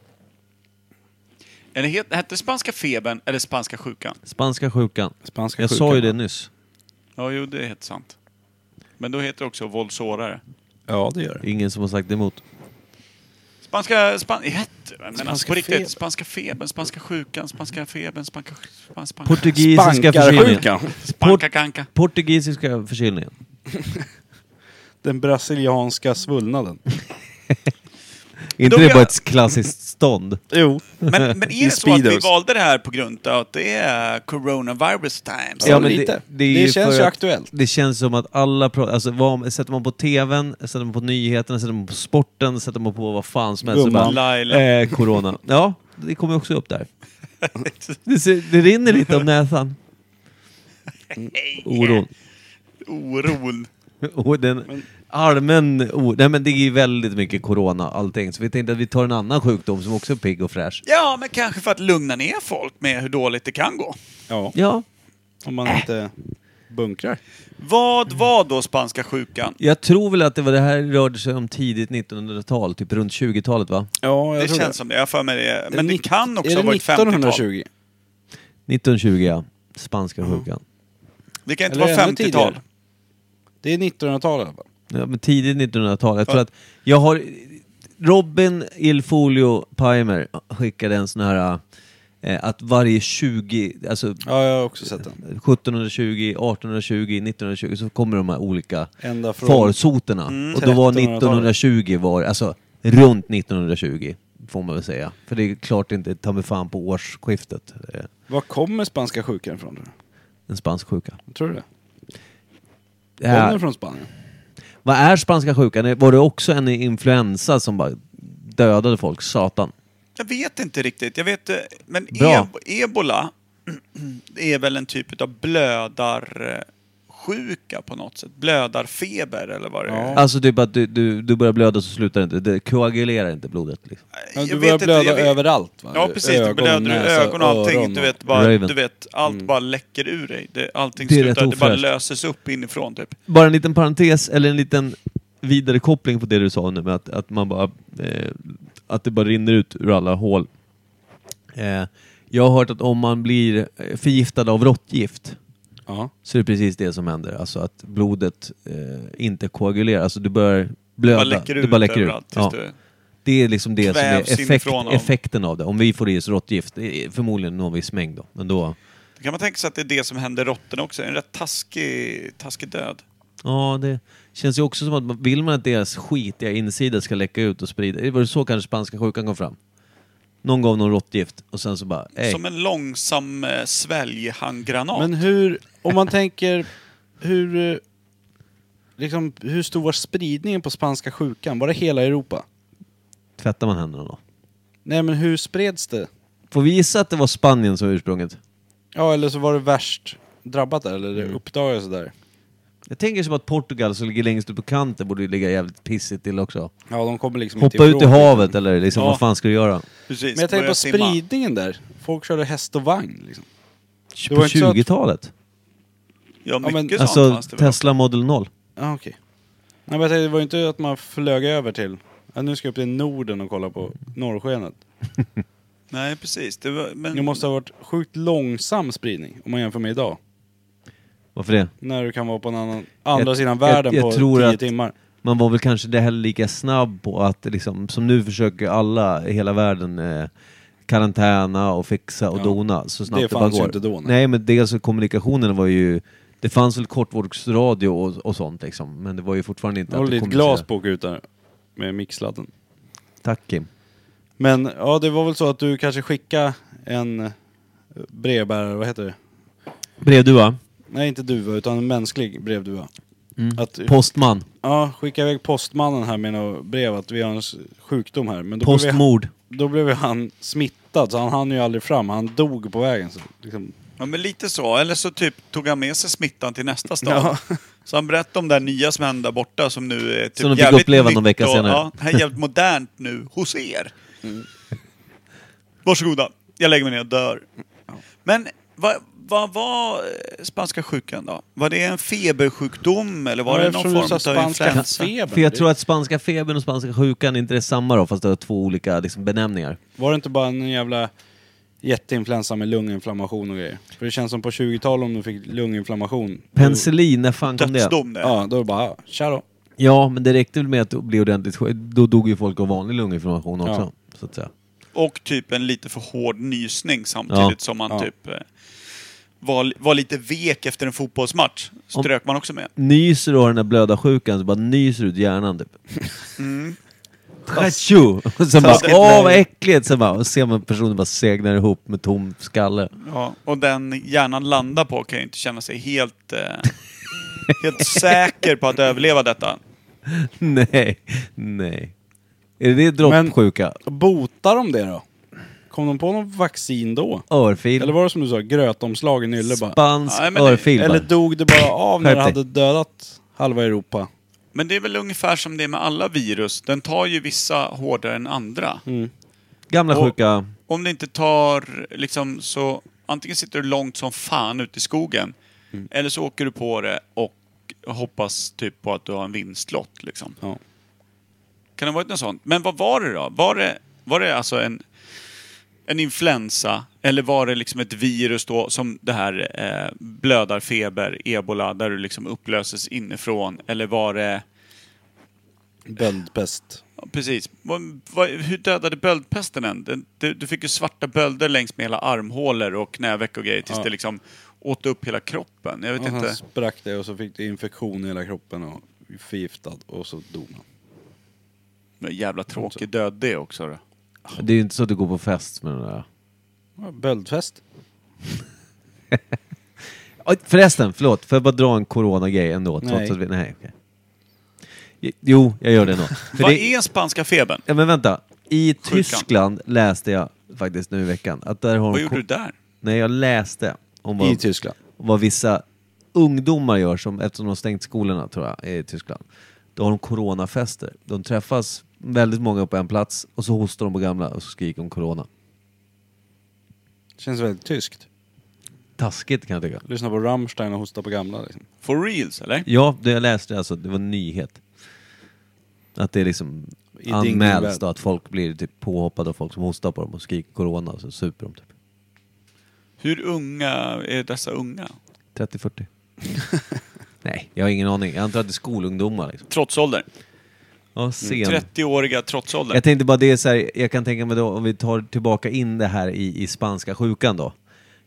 S3: Eller het, hette spanska febern eller spanska sjukan?
S1: Spanska sjukan.
S2: Spanska
S1: Jag
S2: sjukan.
S1: sa ju det nyss.
S3: Ja, jo, det är helt sant. Men då heter det också våldsårare.
S2: Ja, det gör det.
S1: Ingen som har sagt emot.
S3: Spanska... Span, hette, men alltså
S2: Spanska
S3: på riktigt.
S2: febern.
S3: Spanska febern, spanska sjukan, spanska febern, spanska... Spanska, spanska,
S1: Portugisiska förkylningen.
S2: Bankarsjukan.
S3: spanka kanka.
S1: Portugisiska förkylningen.
S2: Den brasilianska svullnaden.
S1: Är inte
S3: Då
S1: det
S3: jag-
S1: bara ett klassiskt stånd?
S2: Jo.
S3: Men, men är det så att vi
S2: Speedos.
S3: valde det här på grund av att det är coronavirus times?
S2: Ja, lite. Det
S1: är
S2: känns
S1: för
S2: ju
S1: att-
S2: aktuellt.
S1: Det känns som att alla... pra- Alltså, vad, sätter man på TVn, sätter man på nyheterna, sätter man på sporten, sätter man på vad fan som helst. så
S2: Gumman.
S3: Laila.
S1: Bara, eh, corona. Ja, det kommer också upp där. Det, ser, det rinner lite om näsan. Oron.
S3: Oron.
S1: Och den allmän o- Nej men det är ju väldigt mycket corona allting. Så vi tänkte att vi tar en annan sjukdom som också är pigg och fräsch.
S3: Ja, men kanske för att lugna ner folk med hur dåligt det kan gå.
S2: Ja,
S1: Ja,
S2: om man
S1: Äh.
S2: inte bunkrar.
S3: Vad var då spanska sjukan?
S1: jag tror väl att det var det här rörde sig om tidigt 1900-tal, typ runt 20-talet va?
S2: Ja, jag
S3: Det
S2: tror
S3: känns som det. Jag har för mig det. Men det
S2: nitt-
S3: kan också
S2: är det
S3: ha varit 50-tal.
S2: 1920?
S1: 1920 ja, spanska sjukan.
S3: Det kan inte
S2: Eller
S3: vara
S2: ännu
S3: 50-tal.
S2: tidigare. Det är 1900-talet i alla fall.
S1: Ja, men tidigt 1900-tal. Jag tror
S3: Ja.
S1: att jag har... Robin Ilfolio Pimer skickade en sån här... Eh, att varje 20... Alltså
S2: Ja, jag har också sett den.
S1: 1720, 1820, 1920 så kommer de här olika
S2: Ända från- Mm,
S1: farsoterna. Och då var
S2: 1300-talet.
S1: 1920 var, alltså runt 1920 får man väl säga. För det är klart inte ta mig fan på årsskiftet. eh,
S2: Var kommer spanska sjukan ifrån? tror du?
S1: En spansk sjuka.
S2: Tror du det?
S1: Det
S2: Kommer
S1: här-
S2: den från Spanien?
S1: Vad är spanska sjukan? Var det också en influensa som bara dödade folk? Satan.
S3: Jag vet inte riktigt. Jag vet, eh, men
S1: Bra.
S3: eb- ebola är väl en typ av blödarsjuka på något sätt. Blödarfeber eller vad det är.
S1: Alltså typ att du, du, du börjar blöda så slutar det inte. Det koagulerar inte blodet. Liksom.
S2: Ja,
S3: Jag
S2: du
S3: vet
S2: börjar
S3: inte,
S2: blöda
S3: jag vet-
S2: överallt va?
S3: Ja precis, du blöder ur
S2: Eh, näsa, Mm.
S3: ögon och allting. Du vet, bara,
S1: Raven.
S3: du vet allt bara läcker ur dig. Det, allting
S1: Det är
S3: slutar,
S1: rätt
S3: det bara
S1: ofräscht.
S3: löses upp inifrån typ.
S1: Bara en liten parentes, eller en liten vidare koppling på det du sa nu med att, att man bara... Eh, att det bara rinner ut ur alla hål. Eh, Jag har hört att om man blir eh, förgiftad av råttgift
S2: Ja.
S1: så är det precis det som händer. Alltså att blodet eh, inte koagulerar. Alltså du börjar blöda.
S3: Bara läcker
S1: det
S3: ut
S1: bara läcker ut.
S3: överallt tills
S1: Ja.
S3: du...
S1: Det är liksom det som är
S3: kvävs
S1: effekt,
S3: inifrån av-
S1: effekten av det. Om vi får i oss råttgift, det är förmodligen någon viss mängd då. Men då,
S3: Då kan man tänka sig att det är det som händer råttorna också. En rätt taskig, taskig död.
S1: ja det känns ju också som att man- vill man att deras skitiga insida ska läcka ut och sprida. Det var så kanske spanska sjukan kom fram. Någon gav någon råttgift och sen så bara, ej.
S3: Som en långsam eh, sväljhandgranat.
S2: Men hur, om man tänker, hur, eh, liksom, hur stor var spridningen på spanska sjukan? Var det hela Europa?
S1: tvättar man händerna då.
S2: Nej men hur spreds det?
S1: Får vi gissa att det var Spanien som var ursprunget?
S2: Ja eller så var det värst drabbat där, eller det
S1: Mm.
S2: uppdagades där.
S1: Jag tänker som att Portugal som ligger längst upp på kanten borde ju ligga jävligt pissigt till också.
S2: Ja de kommer liksom
S1: Hoppa
S2: inte
S1: ut i havet eller liksom,
S3: Ja.
S1: vad fan ska du göra?
S3: Precis,
S2: Men jag tänker
S3: börja
S2: på
S3: simma.
S2: spridningen där. Folk körde häst och vagn liksom.
S1: På
S2: var inte så att-
S1: 20-talet?
S3: Ja,
S2: men-
S3: mycket sånt
S1: Alltså
S3: fanns det väl.
S1: Tesla Model 0.
S2: Ja okej. Nej men jag tänkte, det var ju inte att man flög över till, ja, nu ska jag upp till Norden och kolla på norrskenet.
S3: Nej, precis. Det var, men
S2: Det måste ha varit sjukt långsam spridning om man jämför med idag.
S1: Varför det?
S2: När du kan vara på en annan, andra
S1: Jag-
S2: sidan
S1: jag-
S2: världen
S1: jag
S2: på
S1: tror
S2: tio
S1: att-
S2: timmar.
S1: Man var väl kanske inte heller lika snabb på att liksom, som nu försöker alla i hela världen eh, karantäna och fixa och
S2: Ja.
S1: dona så snabbt
S2: Det
S1: det, bara
S2: fanns ju
S1: går.
S2: inte då, nej.
S1: nej. men dels så kommunikationen var ju... Det fanns väl kortvågsradio och, och sånt liksom, men det var ju fortfarande inte
S2: Jag håller
S1: du
S2: ditt
S1: kommunicerade.
S2: glas på och ut där med mixladden.
S1: Tack Kim.
S2: Men ja, det var väl så att du kanske skickade en eh, brevbärare, vad heter det?
S1: Brevdua.
S2: Nej, inte duva, utan en mänsklig brevduva.
S1: Mm.
S2: Att,
S1: Postman.
S2: ja, skicka iväg postmannen här med något brev att vi har en s- sjukdom här. Men då,
S1: Postmord.
S2: Blev, då blev han smittad, så han hann ju aldrig fram. Han dog på vägen. Så, liksom.
S3: Ja, men lite så. Eller så typ tog han med sig smittan till nästa stad.
S2: Ja.
S3: Så han berättade om det här nya som hände där borta som nu är typ
S1: Som de fick
S3: jävligt
S1: uppleva någon
S3: nytt
S1: vecka
S3: och-
S1: senare. Mm.
S3: Ja, det här är jävligt modernt nu hos er. Varsågoda, jag lägger mig ner och dör. Men vad vad var eh, spanska sjukan då? Var det en febersjukdom eller var
S2: Ja,
S3: det någon
S2: eftersom du sa
S3: form av
S2: spanska
S3: influensa?
S2: febern.
S1: För jag tror att spanska febern och spanska sjukan inte är samma då, fast det är två olika liksom, benämningar.
S2: Var det inte bara en jävla jätteinfluensa med lunginflammation och grejer? För det känns som på 20-talet om du fick lunginflammation.
S1: Penicillin, när fan kom det?
S3: Dödsdom det.
S2: Då, ja, då är det bara, ja, tja då.
S1: Ja, men det räckte väl med att bli ordentligt sjuk. Då dog ju folk av vanlig lunginflammation också. Så att säga.
S3: Och typ en lite för hård nysning samtidigt
S1: Ja.
S3: som man
S2: Ja.
S3: typ eh, var, var lite vek efter en fotbollsmatch. Strök man också med.
S1: Nyser du och har den där blöda sjukan så bara nyser du ut hjärnan typ. Tjo! Och sen bara
S3: Mm. Taskigt
S1: åh vad äckligt! Sen bara, och ser man personen bara segnar ihop med tom skalle.
S3: Ja, och den hjärnan landar på kan ju inte känna sig helt, eh, helt säker på att överleva detta.
S1: nej, nej. Är det det droppsjuka?
S2: Botar de det då? Kom de på något vaccin då?
S1: Örfil?
S2: Eller var det som du sa, grötomslag i nylle bara?
S1: Spansk
S3: Nej, men det-
S1: örfil
S2: Eller
S1: bara.
S2: dog det bara av när
S1: Skärp
S2: det
S1: dig.
S2: hade dödat halva Europa?
S3: Men det är väl ungefär som det är med alla virus. Den tar ju vissa hårdare än andra.
S1: Gamla
S3: Och-
S1: sjuka.
S3: Om det inte tar liksom så... Antingen sitter du långt som fan ute i skogen. Eller så åker du på det och hoppas typ på att du har en vinstlott liksom.
S2: Ja.
S3: Kan det ha varit något sånt? Men vad var det då? Var det, var det alltså en, en influensa? Eller var det liksom ett virus då som det här eh, blödarfeber, ebola, där du liksom upplöses inifrån? Eller var det...
S2: Böldpest.
S3: Ja, precis. Vad- vad- hur dödade böldpesten en? Den- Du, du fick ju svarta bölder längs med hela armhålor och knäveck och grejer tills det liksom åt upp hela kroppen. Jag vet
S2: Och
S3: inte.
S2: han sprack det och så fick det infektion i hela kroppen och förgiftad och så dog man.
S3: Men jävla tråkig död det också då.
S1: Det är ju inte så att du går på fest med den där.
S2: Ja, Böldfest.
S1: Oj, Förresten, förlåt. Får jag bara dra en coronagrej ändå? Nej. Trots
S2: Nej.
S1: att vi, nej okej. Jo, jag gör det ändå. För
S3: Vad
S1: det-
S3: är spanska febern?
S1: Ja, men vänta. I
S3: Sjukan.
S1: Tyskland läste jag faktiskt nu i veckan att där har
S3: Vad
S1: de
S3: gjorde
S1: ko-
S3: du där?
S1: Nej, jag läste om
S2: I
S1: vad,
S2: Tyskland.
S1: vad vissa ungdomar gör som, eftersom de har stängt skolorna tror jag, i Tyskland. Då har de coronafester. De träffas väldigt många på en plats och så hostar de på gamla och så skriker de corona.
S2: Känns väldigt tyskt.
S1: Taskigt kan jag tycka.
S2: Lyssna på Rammstein och hosta på gamla liksom.
S3: For reals eller?
S1: Ja, det jag läste alltså, det var en nyhet. Att det liksom
S2: I din
S1: anmäls
S2: värld.
S1: då att folk blir typ påhoppade av folk som hostar på dem och skriker corona och så super de typ.
S3: Hur unga är dessa unga?
S1: 30-40. Nej, jag har ingen aning. Jag antar att det är skolungdomar. Liksom.
S3: Trotsålder.
S2: Mm,
S1: Ja, sen.
S3: 30-åriga trotsålder.
S1: Jag tänkte bara det är så här, jag kan tänka mig då om vi tar tillbaka in det här i, i spanska sjukan då.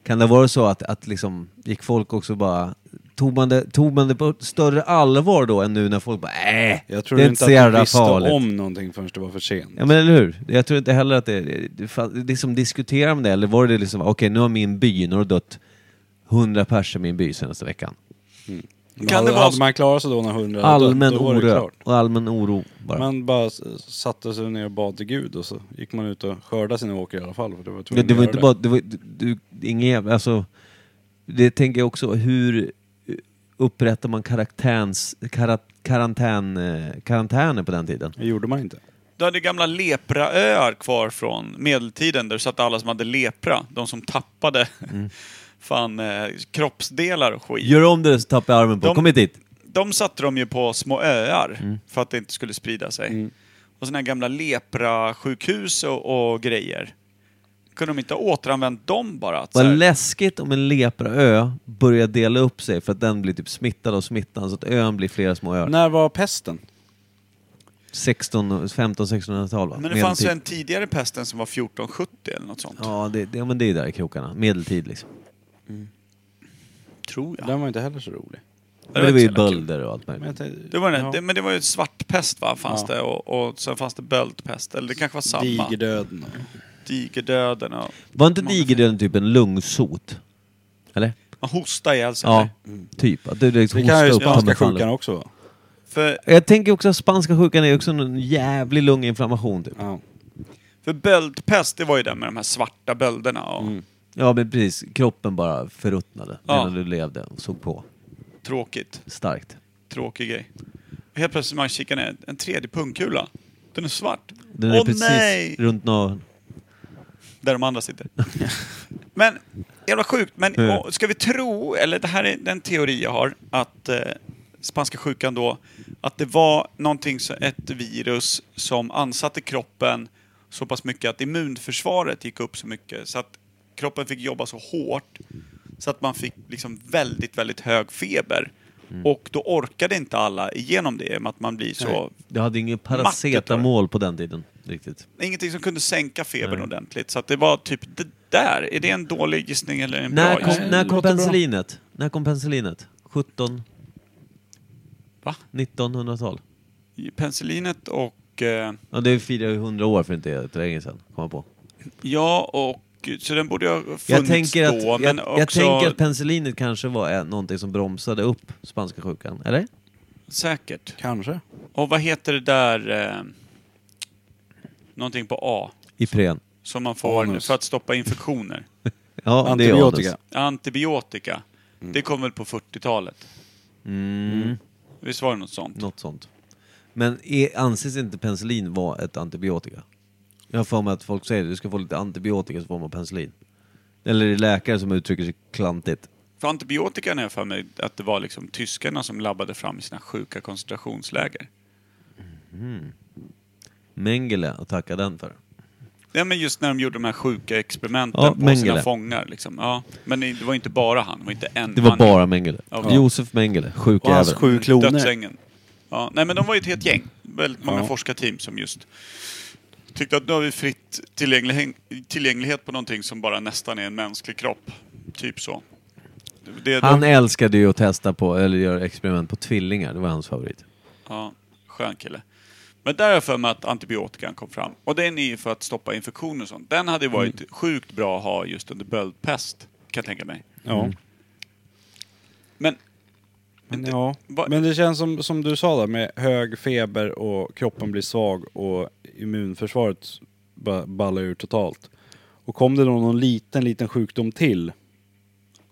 S1: Kan det vara så att, att liksom, gick folk också bara, tog man, det, tog man det på större allvar då än nu när folk bara äh,
S2: Jag tror
S1: det är
S2: inte
S1: inte
S2: att
S1: så
S2: du
S1: jävla
S2: visste
S1: farligt.
S2: om någonting förrän det var för sent.
S1: Ja men eller hur? Jag tror inte heller att det, det, fan- liksom diskuterar man det eller var det liksom, okej nu har min by, nu har det dött 100 pers i min by senaste veckan.
S2: Men
S3: Kan
S2: hade,
S3: det vara
S2: hade
S3: så-
S2: man klarat sig då när hundra hade
S1: Allmän
S2: dött, då var det
S1: oro,
S2: klart.
S1: och allmän oro bara.
S2: Man bara s- satte sig ner och bad till Gud och så gick man ut och skördade sina åker i alla fall. För det var
S1: Ja,
S2: tvungen
S1: det var
S2: att
S1: inte
S2: göra
S1: bara, det var, du, du, ingen jävla, alltså, det tänker jag också, hur upprättar man karaktäns, karat, karantän, eh, karantäner på den tiden?
S2: Det gjorde man inte.
S3: Du hade gamla lepraöar kvar från medeltiden där du satte alla som hade lepra. De som tappade
S1: Mm.
S3: fan, eh, kroppsdelar och skit.
S1: Gör om det så tappar jag armen på,
S3: De-
S1: kom hit dit!
S3: De satte de ju på små öar
S1: Mm.
S3: för att det inte skulle sprida sig. Och såna här gamla leprasjukhus och, och grejer. Kunde de inte ha återanvänt dem bara? Att, så
S1: Vad
S3: här,
S1: läskigt om en lepraö börjar dela upp sig för att den blir typ smittad av smittan så att ön blir flera små öar.
S2: När var pesten?
S1: 16, 15-1600-tal va?
S3: men det
S1: Medeltid.
S3: fanns ju en tidigare pesten som var 1470 eller något sånt.
S1: Ja, det, det, ja, men det är där i krokarna. Medeltid liksom.
S3: Tror jag.
S2: Den var inte heller så rolig.
S1: Men det var ju
S3: inte så jävla kul.
S1: bölder och allt
S2: Men,
S1: möjligt.
S2: jag tänkte-
S3: Det var den,
S2: ja,
S3: det, men det var ju svartpest va, fanns
S2: Ja.
S3: det och, och sen fanns det böldpest. Eller det kanske var samma.
S2: Digerdöden. och-
S3: Digerdöden och...
S1: Var inte
S3: Många-
S1: digerdöden typ en lungsot? Eller?
S3: Man hostar ihjäl sig.
S1: Ja,
S3: eller?
S1: typ. Att du liksom
S2: Det kan ju
S1: hostar upp
S2: spanska
S1: handen på handen.
S2: sjukan också va?
S3: För,
S1: Jag tänker också att spanska sjukan är också en jävlig lunginflammation typ.
S2: Ja.
S3: för böldpest, det var ju den med de här svarta bölderna. Och
S1: Mm. Ja men precis, kroppen bara förruttnade
S3: Ja.
S1: medan du levde och såg på.
S3: Tråkigt.
S1: Starkt.
S3: Tråkig grej. Och helt plötsligt man kikar ner, en tredje pungkula. Den är svart.
S1: Den är
S3: Åh
S1: precis
S3: nej!
S1: runt naveln.
S3: Där de andra sitter. men, jävla sjukt. Men
S1: Mm.
S3: och, ska vi tro, eller det här är den teori jag har, att eh, spanska sjukan då, att det var någonting, så- ett virus som ansatte kroppen så pass mycket att immunförsvaret gick upp så mycket så att kroppen fick jobba så hårt så att man fick liksom väldigt, väldigt hög feber. Och då orkade inte alla igenom det, i och med att man blir så
S1: Du hade ingen
S3: tror jag.
S1: paracetamol på den tiden riktigt.
S3: ingenting som kunde sänka febern ordentligt. Så att det var typ det där. Är det
S1: Mm.
S3: en dålig gissning eller en
S1: När
S3: bra
S1: kom,
S3: gissning?
S1: när kom
S2: låter bra.
S1: penicillinet? När kom penicillinet? 17?
S3: Va?
S1: 1900-tal?
S3: Penicillinet och... Eh,
S1: Ja, det firar ju 100 år för inte så länge sedan, kom jag på.
S3: ja, och... Så den borde ju ha funnits
S1: Jag tänker, att,
S3: då,
S1: jag,
S3: men
S1: jag
S3: också
S1: tänker att penicillinet kanske var eh, någonting som bromsade upp spanska sjukan, eller?
S3: säkert.
S2: Kanske.
S3: Och vad heter det där... Eh, någonting på A
S1: Ipren.
S3: som man får
S2: Anus.
S3: för att stoppa infektioner.
S1: Ja, det är
S2: Antibiotika.
S1: anus.
S3: Antibiotika. Det kom väl på 40-talet?
S1: Mm.
S3: Visst var det något sånt?
S1: Något sånt. Men är, anses inte penicillin vara ett antibiotika? Jag har för mig att folk säger att du ska få lite antibiotika så får man penicillin. Eller är det läkare som uttrycker sig klantigt?
S3: För antibiotikan har jag för mig att det var liksom tyskarna som labbade fram i sina sjuka koncentrationsläger.
S1: Mengele att tacka den för.
S3: Ja, men just när de gjorde de här sjuka experimenten
S1: Ja,
S3: på sina
S1: Mengele.
S3: fångar. Liksom. Ja. Men det var inte bara han, det var inte en
S1: Det var
S3: man.
S1: bara Mengele.
S3: Ja.
S1: Josef Mengele, sjuk
S2: Och hans
S1: jävel.
S2: sju kloner.
S3: Dödsängen. Ja. Nej, men de var ju ett helt gäng. Väldigt många
S2: Ja.
S3: forskarteam som just tyckte att nu har vi fritt tillgänglighet, tillgänglighet på någonting som bara nästan är en mänsklig kropp. Typ så. Det, det,
S1: Han älskade ju att testa på, eller göra experiment på tvillingar, det var hans favorit.
S3: Ja, skön kille. Men där har jag för mig att antibiotikan kom fram. Och den är ju för att stoppa infektioner och sånt. Den hade ju varit
S1: Mm.
S3: sjukt bra att ha just under böldpest, kan jag tänka mig.
S2: Ja.
S3: Men
S2: Men, ja.
S3: Va-
S2: men det känns som, som du sa där med hög feber och kroppen blir svag och immunförsvaret ba- ballar ur totalt. Och kom det då någon liten, liten sjukdom till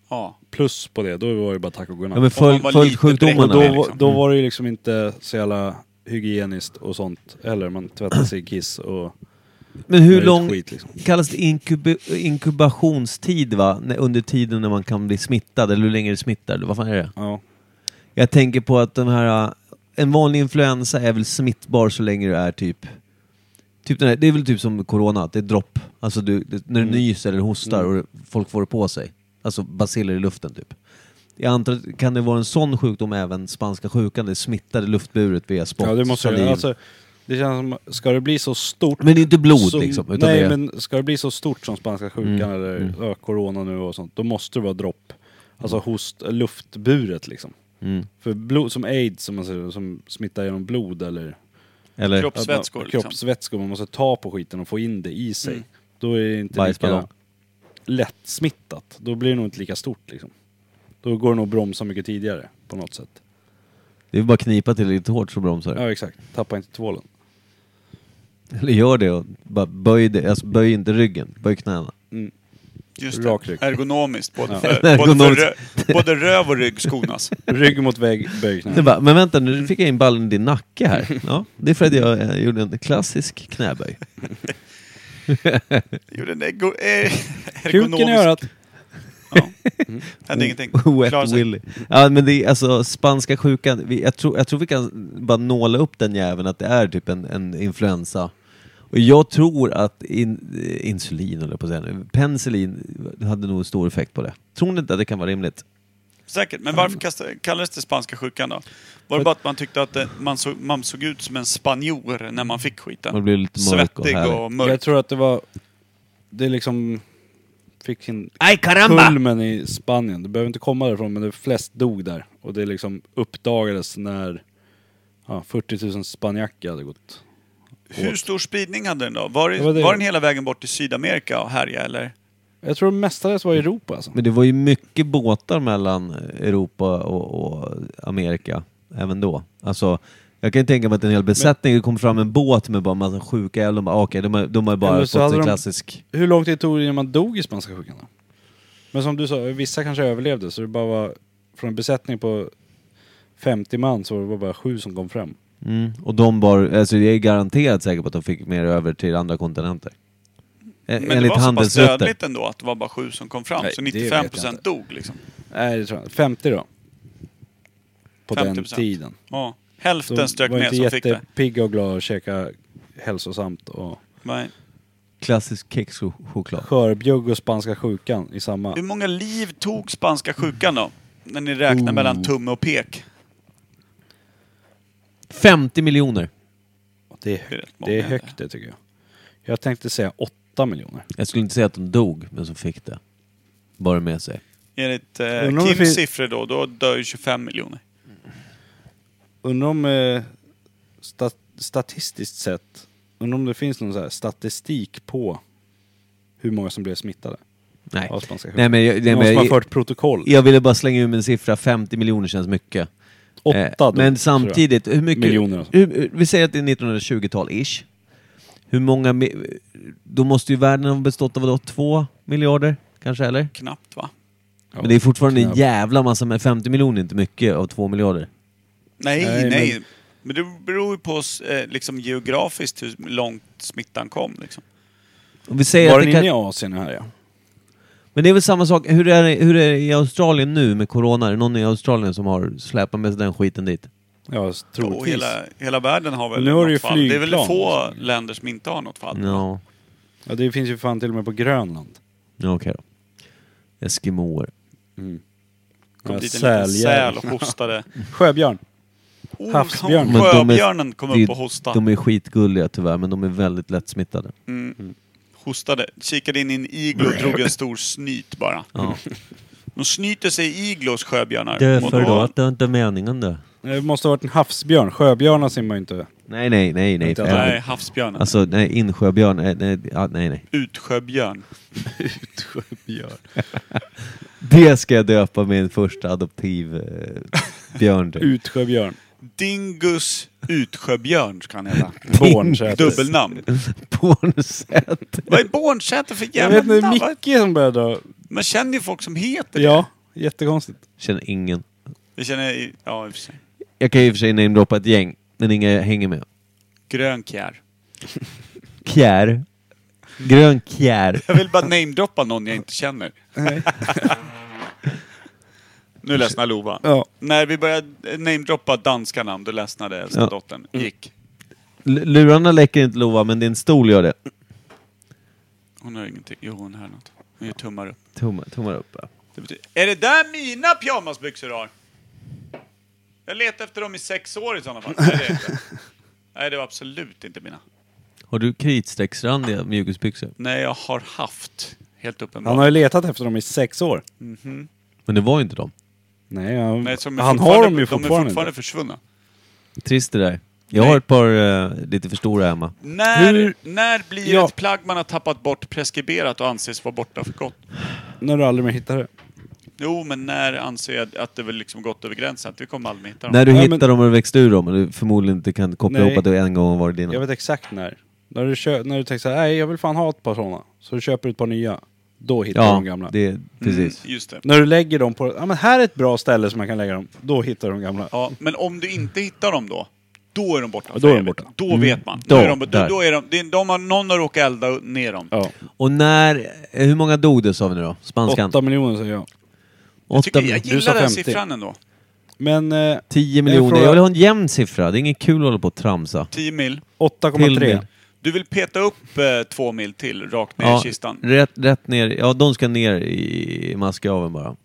S3: ja,
S2: plus på det, då var det bara tack och godnatt.
S1: Ja men följ,
S3: man var
S1: följ
S3: lite
S1: sjukdomarna.
S2: och då,
S3: bräcklig,
S1: Då...
S2: var-
S3: liksom.
S2: då var det ju liksom inte så jävla hygieniskt och sånt eller Man tvättade sig i kiss och...
S1: Men hur
S2: Nöjd
S1: lång
S2: skit, liksom.
S1: kallas det inkub inkubationstid va? När- Under tiden när man kan bli smittad, eller hur länge du smittar, eller vad fan är det?
S2: Ja.
S1: Jag tänker på att de här... äh, En vanlig influensa är väl smittbar så länge du är typ... typ
S2: Mm.
S1: den här, det är väl typ som corona, att det är dropp. Alltså du, det, när du nyser eller hostar och folk får det på sig. Alltså basiller i luften typ. Jag antar att kan det vara en sån sjukdom även spanska sjukan? Det smittar i luftburet via spott,
S2: Ja, det måste
S1: saliv.
S2: det. Alltså, det känns som, ska det bli så stort...
S1: Men det är inte blod
S2: som,
S1: liksom. Utan
S2: Nej,
S1: det Mm. är,
S2: men ska det bli så stort som spanska sjukan eller ja, corona nu och sånt, då måste det vara dropp. Alltså host, luftburet liksom.
S1: mm,
S2: För blod, som aids, som, man säger, som smittar genom blod eller...
S1: eller
S3: Kroppsvätskor.
S2: Att man-
S3: Liksom.
S2: Kroppsvätskor, man måste ta på skiten och få in det i sig.
S3: Mm.
S2: Då är det inte
S1: Bajsballong.
S2: lika lättsmittat. Då blir det nog inte lika stort liksom. Då går det nog att bromsa mycket tidigare på något sätt.
S1: det är bara att knipa till lite hårt så bromsar det.
S2: Ja exakt, tappa inte tvålen.
S1: Eller gör det och bara böj, det, alltså böj inte ryggen, böj knäna.
S3: Just
S2: Rak
S3: det.
S2: rygg.
S3: Ergonomiskt. Både,
S2: Ja.
S3: för, både, för,
S1: Ergonomiskt.
S3: rö- både röv och rygg skonas.
S2: Rygg mot vägg, böj
S1: Det
S2: knä.
S1: bara, men vänta nu fick jag in ballen i din nacke här. Ja, det är för att jag eh, gjorde en klassisk knäböj.
S3: Gjorde en ego, eh, ergonomisk...
S2: Kuken i örat. Mm.
S3: Hände ingenting. Klarade
S1: Wet
S3: sig.
S1: Willy. Ja men det är alltså spanska sjukan, vi, jag, tror, jag tror vi kan bara nåla upp den jäveln att det är typ en, en influensa. Och jag tror att in, eh, insulin eller på att säga nu, penicillin hade nog en stor effekt på det. Tror ni inte att det kan vara rimligt?
S3: Säkert, men varför kastade- kallades det spanska sjukan då? Var det bara att man tyckte att det, man, såg, man såg ut som en spanjor när man fick
S1: Man
S3: skiten?
S1: blir lite mörk och
S3: Svettig
S1: härlig.
S3: och
S2: Jag
S3: mörk.
S2: tror att det var... Det liksom fick sin
S1: Aj caramba!
S2: kulmen i Spanien. Det behöver inte komma därifrån men det flest dog där. Och det liksom uppdagades när ja, 40 000 spanjacker hade gått
S3: Hur stor spridning hade den då? Var, det,
S2: Det var det.
S3: var den hela vägen bort till Sydamerika och härjade eller?
S2: Jag tror mestadels var i Europa alltså.
S1: Men det var ju mycket båtar mellan Europa och, och Amerika även då. Alltså, jag kan ju tänka mig att en hel besättning det kom fram en båt med bara en massa sjuka jävlar. De bara, "Ah, Okej, de, har- de har ju bara
S2: Eller så
S1: fått
S2: hade
S1: en
S2: de-
S1: klassisk...
S2: Hur lång tid tog det innan man dog i spanska sjukan då? Men som du sa, vissa kanske överlevde så det bara var från en besättning på 50 man så var det bara sju som kom fram.
S1: Mm. Och de var, alltså jag är garanterat säker på att de fick mer över till andra kontinenter. E-
S3: Men det
S1: enligt
S3: var så pass
S1: handelsrutter.
S3: dödligt ändå att det var bara sju som kom fram,
S2: Nej,
S3: så
S2: det vet jag
S3: 95 procent
S2: inte.
S3: dog liksom.
S2: Nej det tror jag inte. 50 då. På den
S3: 50%.
S2: tiden.
S3: Ja. Hälften strök
S2: var
S3: med
S2: inte
S3: som fick det.
S2: jättepigga och glada och käkade hälsosamt och
S3: Nej.
S1: Klassisk kexchoklad.
S2: skörbjugg och spanska sjukan i samma.
S3: Hur många liv tog spanska sjukan då? När ni räknar mellan tumme och pek.
S1: 50 miljoner.
S2: Det är
S3: Det är rätt
S2: högt
S3: många,
S2: det, är högt, det tycker jag. Jag tänkte säga 8 miljoner.
S1: Jag skulle inte säga att de dog, men som fick det. Bara med sig.
S3: Enligt eh,
S2: Undrar om det
S3: Kims
S2: finns-
S3: siffror då, då dör ju 25 miljoner.
S2: Undrar om eh, sta- statistiskt sett, undrar om det finns någon så här statistik på hur många som blev smittade
S1: Nej.
S2: av spanska sjukan.
S1: Nej men, jag, nej,
S2: någon
S1: men
S2: som har
S1: jag,
S2: fört protokoll.
S1: jag ville bara slänga ur min siffra, 50 miljoner känns mycket. Eh,
S2: Åtta då, tror
S1: men
S2: jag.
S1: samtidigt, hur mycket...
S2: Miljoner alltså.
S1: hur, vi säger att det är 1920-tal-ish. Hur många... mi- Då måste ju världen ha bestått av vadå, två miljarder? Kanske, eller?
S3: Knappt va?
S2: Ja.
S1: Men det är fortfarande en
S2: knappt.
S1: jävla massa, men 50 miljoner är inte mycket av två miljarder.
S3: Nej, nej.
S2: Nej,
S3: Men... det beror ju på eh, liksom, geografiskt hur långt smittan kom. Liksom.
S1: Om vi säger
S2: Var
S1: att
S2: den
S1: det
S2: inne i
S1: kan...
S2: Asien här ja?
S1: Men det är väl samma sak, hur är, det, hur är det i Australien nu med Corona? Är det någon i Australien som har släpat med sig den skiten dit?
S2: Ja,
S3: Och
S2: troligtvis.
S3: hela, hela världen har väl
S2: Men nu har
S3: något
S2: du ju
S3: fall. Det är väl
S2: flygplan
S3: få
S2: också.
S3: länder som inte har något fall.
S1: Ja,
S2: Ja, det finns ju fan till och med på Grönland.
S1: ja okej då. Eskimoer.
S3: kom
S2: Ja,
S3: dit en liten
S2: säljävel.
S3: säl och hostade.
S2: Sjöbjörn.
S3: Oh,
S2: Havsbjörn.
S1: Men de är-
S3: Sjöbjörnen kom
S1: det är-
S3: upp och hostade.
S1: De är skitgulliga tyvärr, men de är väldigt lättsmittade.
S3: hostade. Kikade in i en iglo och drog en stor snyt bara.
S1: Ja.
S3: De snyter sig i iglos, sjöbjörnar.
S1: Det är
S3: Och
S1: för
S3: då-
S1: då att det inte är meningen det.
S2: Eh, Det måste ha varit en havsbjörn. Sjöbjörnar simmar ju inte.
S1: Nej, nej, nej, nej.
S2: Inte
S1: för
S2: att-
S1: helvete.
S3: Nej, havsbjörnen.
S1: Alltså, nej, insjöbjörn, nej, nej, ja, nej, nej.
S3: Utsjöbjörn.
S2: Utsjöbjörn.
S1: Det ska jag döpa min första adoptiv eh, björn till.
S2: Utsjöbjörn.
S3: Dingus Utsjöbjörn ska han heta.
S2: Bornsäter.
S3: Dubbelnamn.
S1: Pornsätt.
S3: Vad är Bornsäter för
S2: Jag
S3: jävla
S2: vet inte,
S3: namn? Vad-
S2: Micke som började dra.
S3: Man känner ju folk som heter det.
S2: Ja, jättekonstigt.
S1: Känner ingen.
S3: Jag känner, i- ja i och för sig.
S1: Jag kan ju i och för sig namedroppa ett gäng, men inga jag hänger med.
S3: Grönkjär.
S1: Kjär. Grön kjär.
S3: Jag vill bara namedroppa någon jag inte känner. nu ledsnar Lova.
S2: Ja.
S3: När vi började namedroppa danska namn, då ledsnade äldsta
S1: Ja.
S3: dottern.
S2: Mm.
S3: Gick.
S1: L- lurarna läcker inte Lova, men din stol gör det.
S3: Hon hör ingenting. Jo, hon hör något. Hon gör tummar upp.
S1: Tummar, tummar upp. ja.
S3: Det betyder, är det där mina pyjamasbyxor har? Jag letade efter dem i sex år i sådana fall. Nej, det, är det inte. Nej, det var absolut inte mina.
S1: Har du kritstrecksrandiga mjukisbyxor?
S3: Nej, jag har haft. Helt uppenbart.
S2: Han har ju letat efter dem i sex år.
S1: Men det var ju inte dem.
S2: Nej, han,
S3: Nej, som är
S2: han har
S3: fortfarande-
S2: dem ju
S3: De är
S2: fortfarande.
S3: fortfarande försvunna.
S1: Trist det där. Jag
S3: Nej.
S1: har ett par eh, lite för stora hemma.
S3: När,
S2: Hur-
S3: när blir
S2: Ja.
S3: ett plagg man har tappat bort preskriberat och anses vara borta för gott?
S2: När du aldrig mer hittar det.
S3: Jo, men när anser jag att det väl liksom gått över gränsen? Att vi kommer aldrig mer hitta dem.
S1: När du
S2: Ja, men-
S1: hittar dem och växte ur dem och du förmodligen inte kan koppla
S2: Nej.
S1: ihop att du en gång har varit dina.
S2: Jag vet exakt när. När du, kö- när du tänker såhär, nej jag vill fan ha ett par sådana. Så du köper ett par nya. Då hittar du
S1: ja,
S2: de gamla.
S1: det, precis.
S3: Mm, just det.
S2: När du lägger dem på, ja men här är ett bra ställe som man kan lägga dem. Då hittar du de gamla.
S3: Ja, men om du inte hittar dem då? Då är de borta.
S2: Ja, då är de
S3: för
S2: borta. Mm.
S3: evigt. Då vet man.
S1: Då,
S3: Då, är de, då,
S1: där.
S3: då är de, det är- de har, någon har råkat elda ner dem.
S2: Ja.
S1: Och när, eh, hur många dog det sa vi nu då? Spanskan?
S2: Åtta miljoner säger jag.
S3: Jag, tycker,
S1: Åtta-
S3: jag
S2: Du sa
S3: gillar den
S2: 50.
S3: siffran ändå.
S2: Men eh,
S1: 10
S2: En
S1: miljoner.
S2: fråga.
S1: Jag vill ha en jämn siffra. Det är inget kul att hålla på och tramsa.
S3: 10 mil.
S1: Till mil.
S2: 8,3.
S3: Du vill peta upp eh, två mil till rakt ner i kistan.
S1: rätt, rätt ner. Ja, de ska ner i maskaven bara.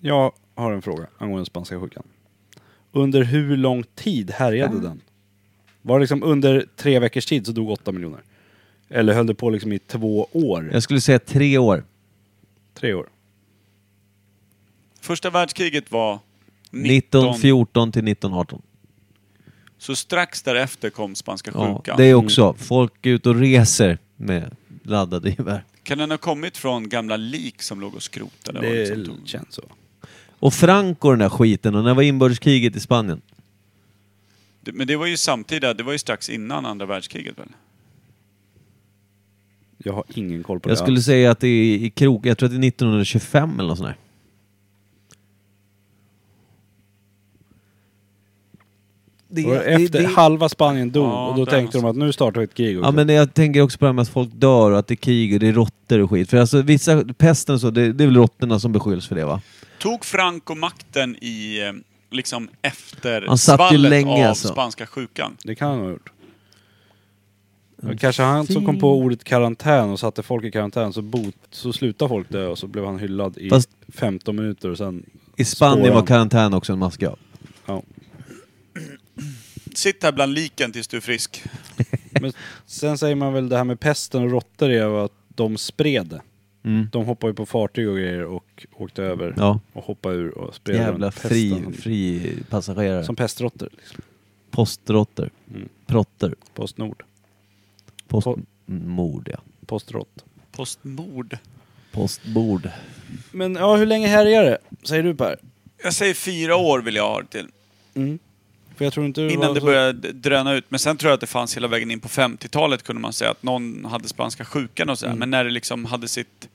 S2: Jag har en fråga angående spanska sjukan. Under hur lång tid härjade den? Var det liksom under tre veckors tid så dog 8 miljoner? Eller höll det på liksom i två år?
S1: Jag skulle säga tre år.
S2: Tre år?
S3: Första världskriget var 19,
S1: 1914 till 1918.
S3: Så strax därefter kom spanska
S1: Ja,
S3: sjukan.
S1: det är också. Folk är ute och reser med laddade gevär.
S3: Kan den ha kommit från gamla lik som låg och skrotade? och liksom
S2: Det
S3: tog-
S2: känns så.
S1: Och Franco den där skiten, och när var inbördeskriget i Spanien?
S3: Det- Men det var ju samtida, det var ju strax innan andra världskriget väl?
S2: Jag har ingen koll på
S1: Jag
S2: det
S1: skulle
S2: alls.
S1: säga att det är i krok, jag tror att det är 1925 eller något sånt där. Det,
S2: Och efter halva Spanien dog
S3: Ja,
S2: och då
S3: där
S2: tänkte de att nu startar vi ett krig. också.
S1: Ja men jag tänker också på det här med att folk dör och att det är krig och det är råttor och skit. För alltså vissa, pesten och så, det, det är väl råttorna som beskylls för det va?
S3: Tog Franco makten i, eh, liksom efter
S1: Han satt ju
S3: svallet
S1: länge,
S3: av
S1: alltså.
S3: spanska sjukan?
S2: Det kan han ha gjort. Det kanske han som kom på ordet karantän och satte folk i karantän så, bot, så slutade folk dö och så blev han hyllad i
S1: Fast-
S2: 15 minuter och sen...
S1: I Spanien
S2: Spåren.
S1: var karantän också en maska.
S2: Ja.
S3: Sitt här bland liken tills du är frisk.
S2: Men sen säger man väl det här med pesten och råttor är ju att de spred det.
S1: Mm.
S2: De hoppade ju på fartyg och grejer och åkte över
S1: Ja.
S2: och hoppade ur och spred
S1: Jävla
S2: den
S1: fri,
S2: pesten
S1: fri passagerare.
S2: som, som pestråttor. Liksom.
S1: Postråttor.
S2: Mm.
S1: Protter.
S2: Postnord.
S1: Postmord ja.
S2: Postrått.
S3: Postmord.
S1: Postbord.
S2: Men ja, hur länge härjar det? Säger du Per?
S3: Jag säger fyra år vill jag ha det till.
S2: För jag tror inte var
S3: Innan det
S2: så-
S3: började dröna ut. Men sen tror jag att det fanns hela vägen in på 50-talet kunde man säga att någon hade spanska sjukan och sådär.
S2: Mm.
S3: Men när det liksom hade sitt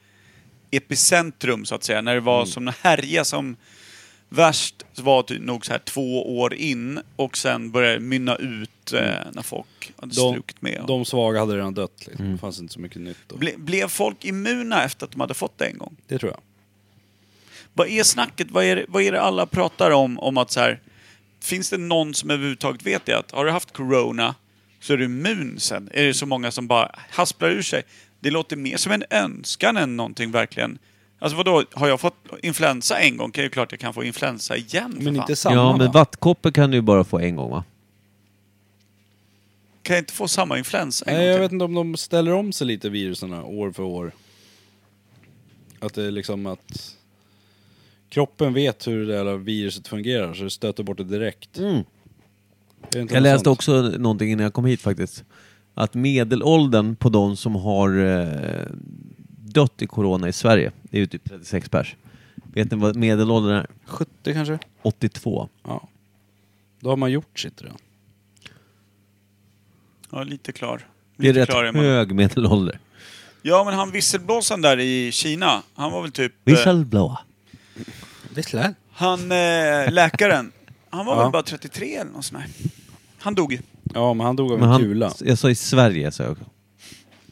S3: epicentrum så att säga. När det
S2: Mm.
S3: var som en härja som värst så var det nog så här två år in och sen började det mynna ut eh, när folk hade
S2: Mm. De,
S3: strukit med.
S2: de svaga hade redan dött. Liksom.
S1: Mm.
S2: Det fanns inte så mycket nytt då.
S3: Ble, blev folk immuna efter att de hade fått det en gång?
S2: Det tror jag.
S3: Vad är snacket? Vad är, det- vad är det alla pratar om? Om att så här, finns det någon som överhuvudtaget vet det? Att har du haft corona så är du immun sen. Är det så många som bara hasplar ur sig? Det låter mer som en önskan än någonting verkligen. Alltså vadå, har jag fått influensa en gång kan ju klart jag kan få influensa igen. för
S2: Men
S3: fan.
S2: inte samma
S1: Ja men
S2: va?
S1: vattkoppor kan du ju bara få en gång va?
S3: Kan jag inte få samma influensa en
S2: Nej,
S3: gång
S2: jag
S3: till?
S2: vet inte om de ställer om sig lite viruserna år för år. Att det är liksom att kroppen vet hur det där viruset fungerar så det stöter bort det direkt.
S1: Mm.
S2: Är det inte
S1: Jag
S2: något
S1: läste
S2: sånt?
S1: också någonting innan jag kom hit faktiskt. Att medelåldern på de som har eh, dött i corona i Sverige, det är ju typ 36 pers. Vet ni vad medelåldern är?
S2: 70 kanske?
S1: 82.
S2: Ja. Då har man gjort sitt redan.
S3: Ja, lite klar.
S1: Det är
S3: Lite
S1: rätt
S3: klar är man.
S1: hög medelålder.
S3: Ja, men han visselblåsaren där i Kina, han var väl typ... eh,
S1: Visselblåa.
S2: Visslar?
S3: Han, eh, läkaren, han var
S2: Ja.
S3: väl bara 33 eller något sånt där. Han dog ju.
S2: Ja, men han dog av
S1: Men
S2: en
S1: han,
S2: kula.
S1: jag sa i Sverige sa jag också.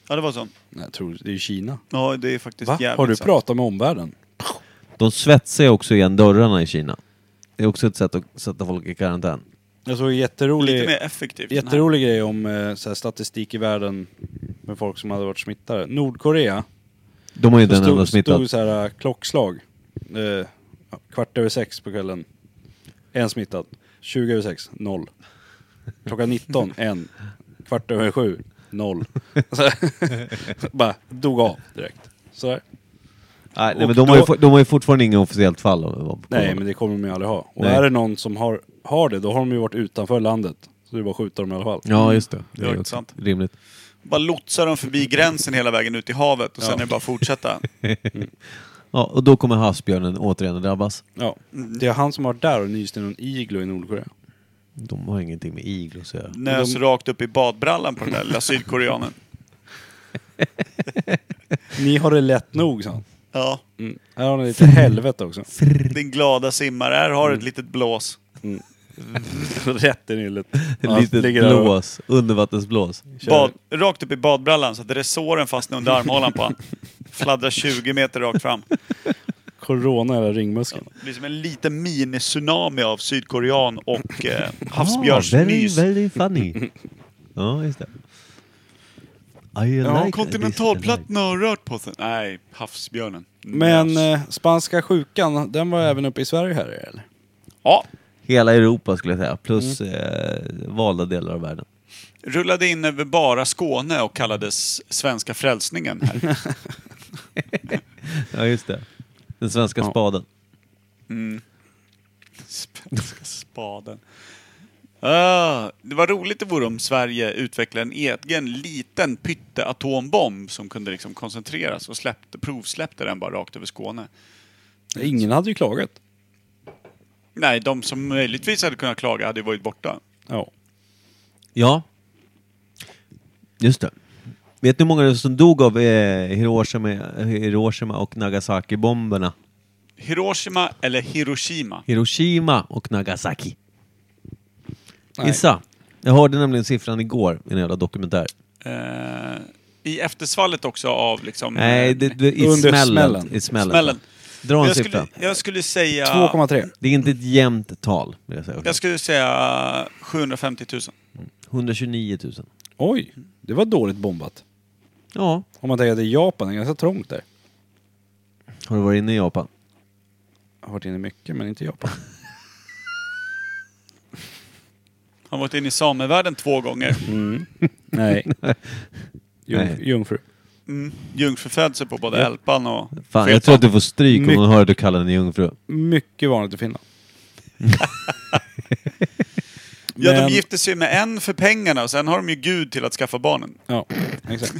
S3: Ja, det var så.
S2: Nej, jag tror det är ju Kina.
S3: Ja, det är faktiskt
S2: Va?
S3: jävligt
S2: Har du
S3: sant.
S2: pratat med omvärlden?
S1: De svetsar ju också igen dörrarna i Kina. Det är också ett sätt att sätta folk i karantän.
S2: Jag såg en jätterolig...
S3: Lite mer effektivt. än här.
S2: Jätterolig grej om eh, så här, statistik i världen med folk som hade varit smittade. Nordkorea.
S1: De har ju
S2: Så
S1: den enda
S2: stod,
S1: smittat.
S2: stod så här eh, klockslag. eh, kvart över sex på kvällen, en smittad. 20 över sex, noll. Klockan 19, en. Kvart över sju, noll. Så, bara dog av direkt. Sådär.
S1: Nej, nej,
S2: Och
S1: men de, har ju,
S2: då-
S1: for- de har ju fortfarande inget officiellt fall. av- av-
S2: Nej, men det kommer de ju aldrig ha. Och
S1: Nej.
S2: är det någon som har, har det, då har de ju varit utanför landet. Så det är bara att skjuta dem i alla fall.
S1: Ja, just det.
S3: Det är
S1: också
S3: intressant.
S1: Rimligt.
S3: Bara lotsar dem förbi gränsen hela vägen ut i havet och sen är det bara att fortsätta.
S1: Ja, och då kommer havsbjörnen återigen att drabbas.
S2: Ja. Det är han som har varit där och nyst i någon iglo i Nordkorea.
S1: De har ingenting med iglo att göra.
S3: Nös rakt upp i badbrallan på den där lilla sydkoreanen.
S2: Ni har det lätt nog, sa han.
S3: Ja,
S2: Mm. Här har ni lite helvete också.
S3: din glada simmare. Här har du ett litet blås.
S2: Rätt i nyllet.
S1: Ett litet
S2: ligger där och Ah,
S1: blås, undervattensblås.
S2: kör.
S3: Bad, rakt upp i badbrallan så att resåren fastnar under armhålan på honom. Fladdrar 20 meter rakt fram.
S2: Corona i hela ringmuskeln.
S3: Det blir som en liten mini-tsunami av sydkorean och
S1: Ah,
S3: eh,
S1: very,
S3: havsbjörnsnys.
S1: very funny. ja, just det. I
S3: Ja,
S1: like this.
S3: kontinentalplattan har rört på sig. Nej, havsbjörnen.
S2: Men
S3: Nös.
S2: eh, spanska sjukan, den var även uppe i Sverige här eller?
S3: Ja,
S1: Hela Europa skulle jag säga, plus
S2: Mm.
S1: eh, valda delar av världen.
S3: rullade in över bara Skåne och kallades svenska frälsningen här.
S1: Ja, just det. Den svenska
S2: Ja.
S1: spaden.
S3: Svenska spaden. Ah, det var roligt det vore om Sverige utvecklade en egen liten pytteatombomb som kunde liksom koncentreras och släppte, provsläppte den bara rakt över Skåne.
S2: Ingen hade ju klagat.
S3: Nej, de som möjligtvis hade kunnat klaga hade ju varit borta.
S2: Ja.
S1: Ja. Just det. Vet ni hur många som dog av eh, Hiroshima, Hiroshima och Nagasaki-bomberna?
S3: Hiroshima eller Hiroshima?
S1: Hiroshima och Nagasaki.
S2: Nej.
S1: Gissa. Jag hörde nämligen siffran igår i en jävla dokumentär.
S3: Eh, I eftersvallet också av liksom...
S1: Nej,
S3: eh,
S1: det, det, i,
S2: Under
S1: smällen,
S2: smällen.
S1: i smällen.
S3: smällen.
S1: Dra en
S3: Jag
S1: siffra.
S3: skulle, jag skulle säga...
S2: 2,3.
S1: Det är inte ett jämnt tal, vill jag säga.
S3: Jag skulle säga 750 000.
S1: 129 000.
S2: Oj, det var dåligt bombat.
S1: Ja.
S2: Om man tänker att det är Japan, det är ganska trångt där.
S1: Har du varit inne i Japan?
S2: Jag har varit inne mycket, men inte i Japan.
S3: Han har varit inne i samevärlden två gånger.
S2: Mm. Nej. Jungf-
S1: Nej.
S2: Jungfru.
S3: Mm. Jungfrufödsel på både Älpan och
S1: Fan,
S3: Feta.
S1: jag tror att du får stryk om
S2: Mycket.
S1: hon hör att du kallar henne jungfru.
S2: Mycket vanligt i Finland.
S3: Ja,
S2: Men-
S3: de gifte sig med en för pengarna och sen har de ju Gud till att skaffa barnen.
S2: Ja, exakt.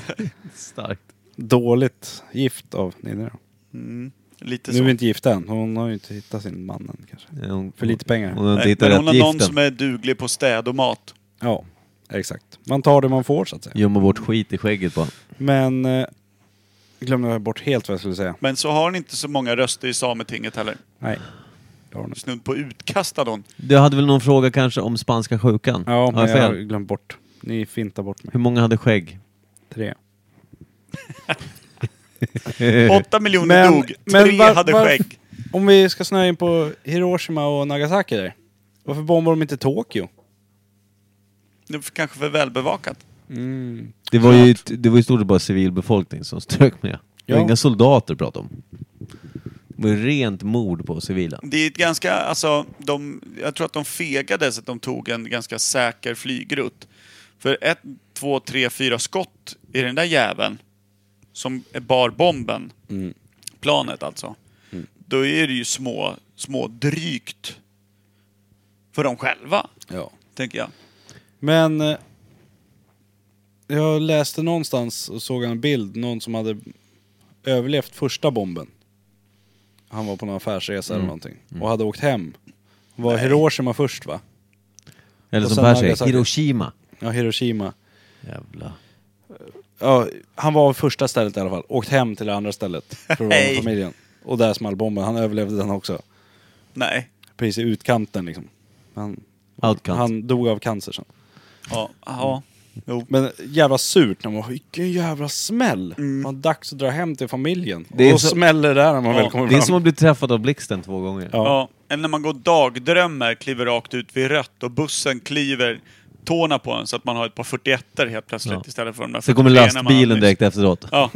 S1: Starkt.
S2: Dåligt gift av Ninja.
S3: Mm, Lite
S2: Nu är
S3: så.
S2: vi inte gifta än. Hon har ju inte hittat sin man än kanske.
S1: Hon,
S2: För lite pengar.
S1: Hon har inte
S3: Nej,
S1: hittat
S3: men
S1: rätt
S3: hon har någon
S1: giften.
S3: som är duglig på städ och mat.
S2: Ja, exakt. Man tar det man får så att säga.
S1: Gömmer bort skit i skägget på
S2: Men... Eh, glömde jag bort helt vad jag skulle säga.
S3: Men så har hon inte så många röster i Sametinget heller.
S2: Nej. Det har hon inte.
S3: Snudd på utkastad hon.
S1: Du hade väl någon fråga kanske om spanska sjukan?
S2: Ja,
S1: har
S2: men
S1: jag
S2: jag har
S1: fel?
S2: glömt bort. Ni fintar bort mig.
S1: Hur många hade skägg?
S2: Tre.
S3: Åtta miljoner
S2: Men-
S3: dog,
S2: men
S3: tre
S2: var-
S3: hade
S2: var-
S3: skägg.
S2: Om vi ska snöa in på Hiroshima och Nagasaki där. Varför bombar de inte Tokyo?
S3: Det var kanske för välbevakat.
S1: Det var ju det var i stort sett bara civilbefolkning som strök med. Det var
S2: Ja.
S1: inga soldater pratade om. Det var ju rent mord på civila.
S3: Det är ett ganska, alltså, de, jag tror att de fegade så att de tog en ganska säker flygrutt. För ett, två, tre, fyra skott i den där jäveln som bar bomben,
S1: Mm.
S3: planet alltså. Då är det ju små, små drygt för dem själva,
S2: Ja.
S3: tänker jag.
S2: Men... Eh, jag läste någonstans och såg en bild. Någon som hade överlevt första bomben. Han var på någon affärsresa eller någonting. Och hade åkt hem. Var Hiroshima först va?
S1: Eller
S2: Och
S1: som
S2: sen
S1: Per säger,
S2: Nagasaki.
S1: Hiroshima.
S2: Ja, Hiroshima.
S1: Jävla.
S2: Ja, han var första stället i alla fall. Åkt hem till det andra stället för att vara
S3: Nej.
S2: med familjen. Och där small bomben. Han överlevde den också.
S3: Nej.
S2: Precis i utkanten liksom. Han,
S1: Outcome.
S2: han dog av cancer sen.
S3: Ja. ja. Jo.
S2: Men jävla surt när man bara, vilken jävla smäll! Man dags att dra hem till familjen.
S1: Det är
S2: och då
S1: så-
S2: smäller det där när man
S3: Mm. Ja,
S2: väl kommer
S1: Det är
S2: fram.
S1: som att bli träffad av blixten två gånger.
S2: Ja.
S3: Ja. Eller när man går dagdrömmar, kliver rakt ut vid rött och bussen kliver tårna på en så att man har ett par 41 helt plötsligt
S1: Ja.
S3: istället för de där
S1: Så kommer
S3: 43 man
S1: lastbilen
S3: har-
S1: direkt efteråt.
S3: Ja.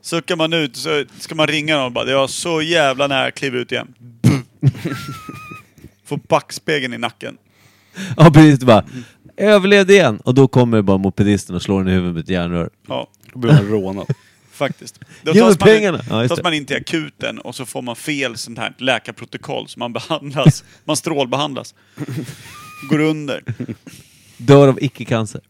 S3: Suckar man ut så ska man ringa någon och bara jag var så jävla nära, kliv ut igen. Får backspegeln i nacken.
S1: Ja, precis. Bara, överlevde igen! Och då kommer bara mopedisten och slår den i huvudet med ett järnrör.
S3: Ja,
S2: Då blir man rånad.
S3: faktiskt. Då
S1: Ge mig
S3: tas man,
S1: pengarna! Ja, just
S3: tas
S1: det.
S3: man in till akuten och så får man fel sånt här läkarprotokoll så man behandlas, man strålbehandlas. Går under.
S1: Dör av icke-cancer.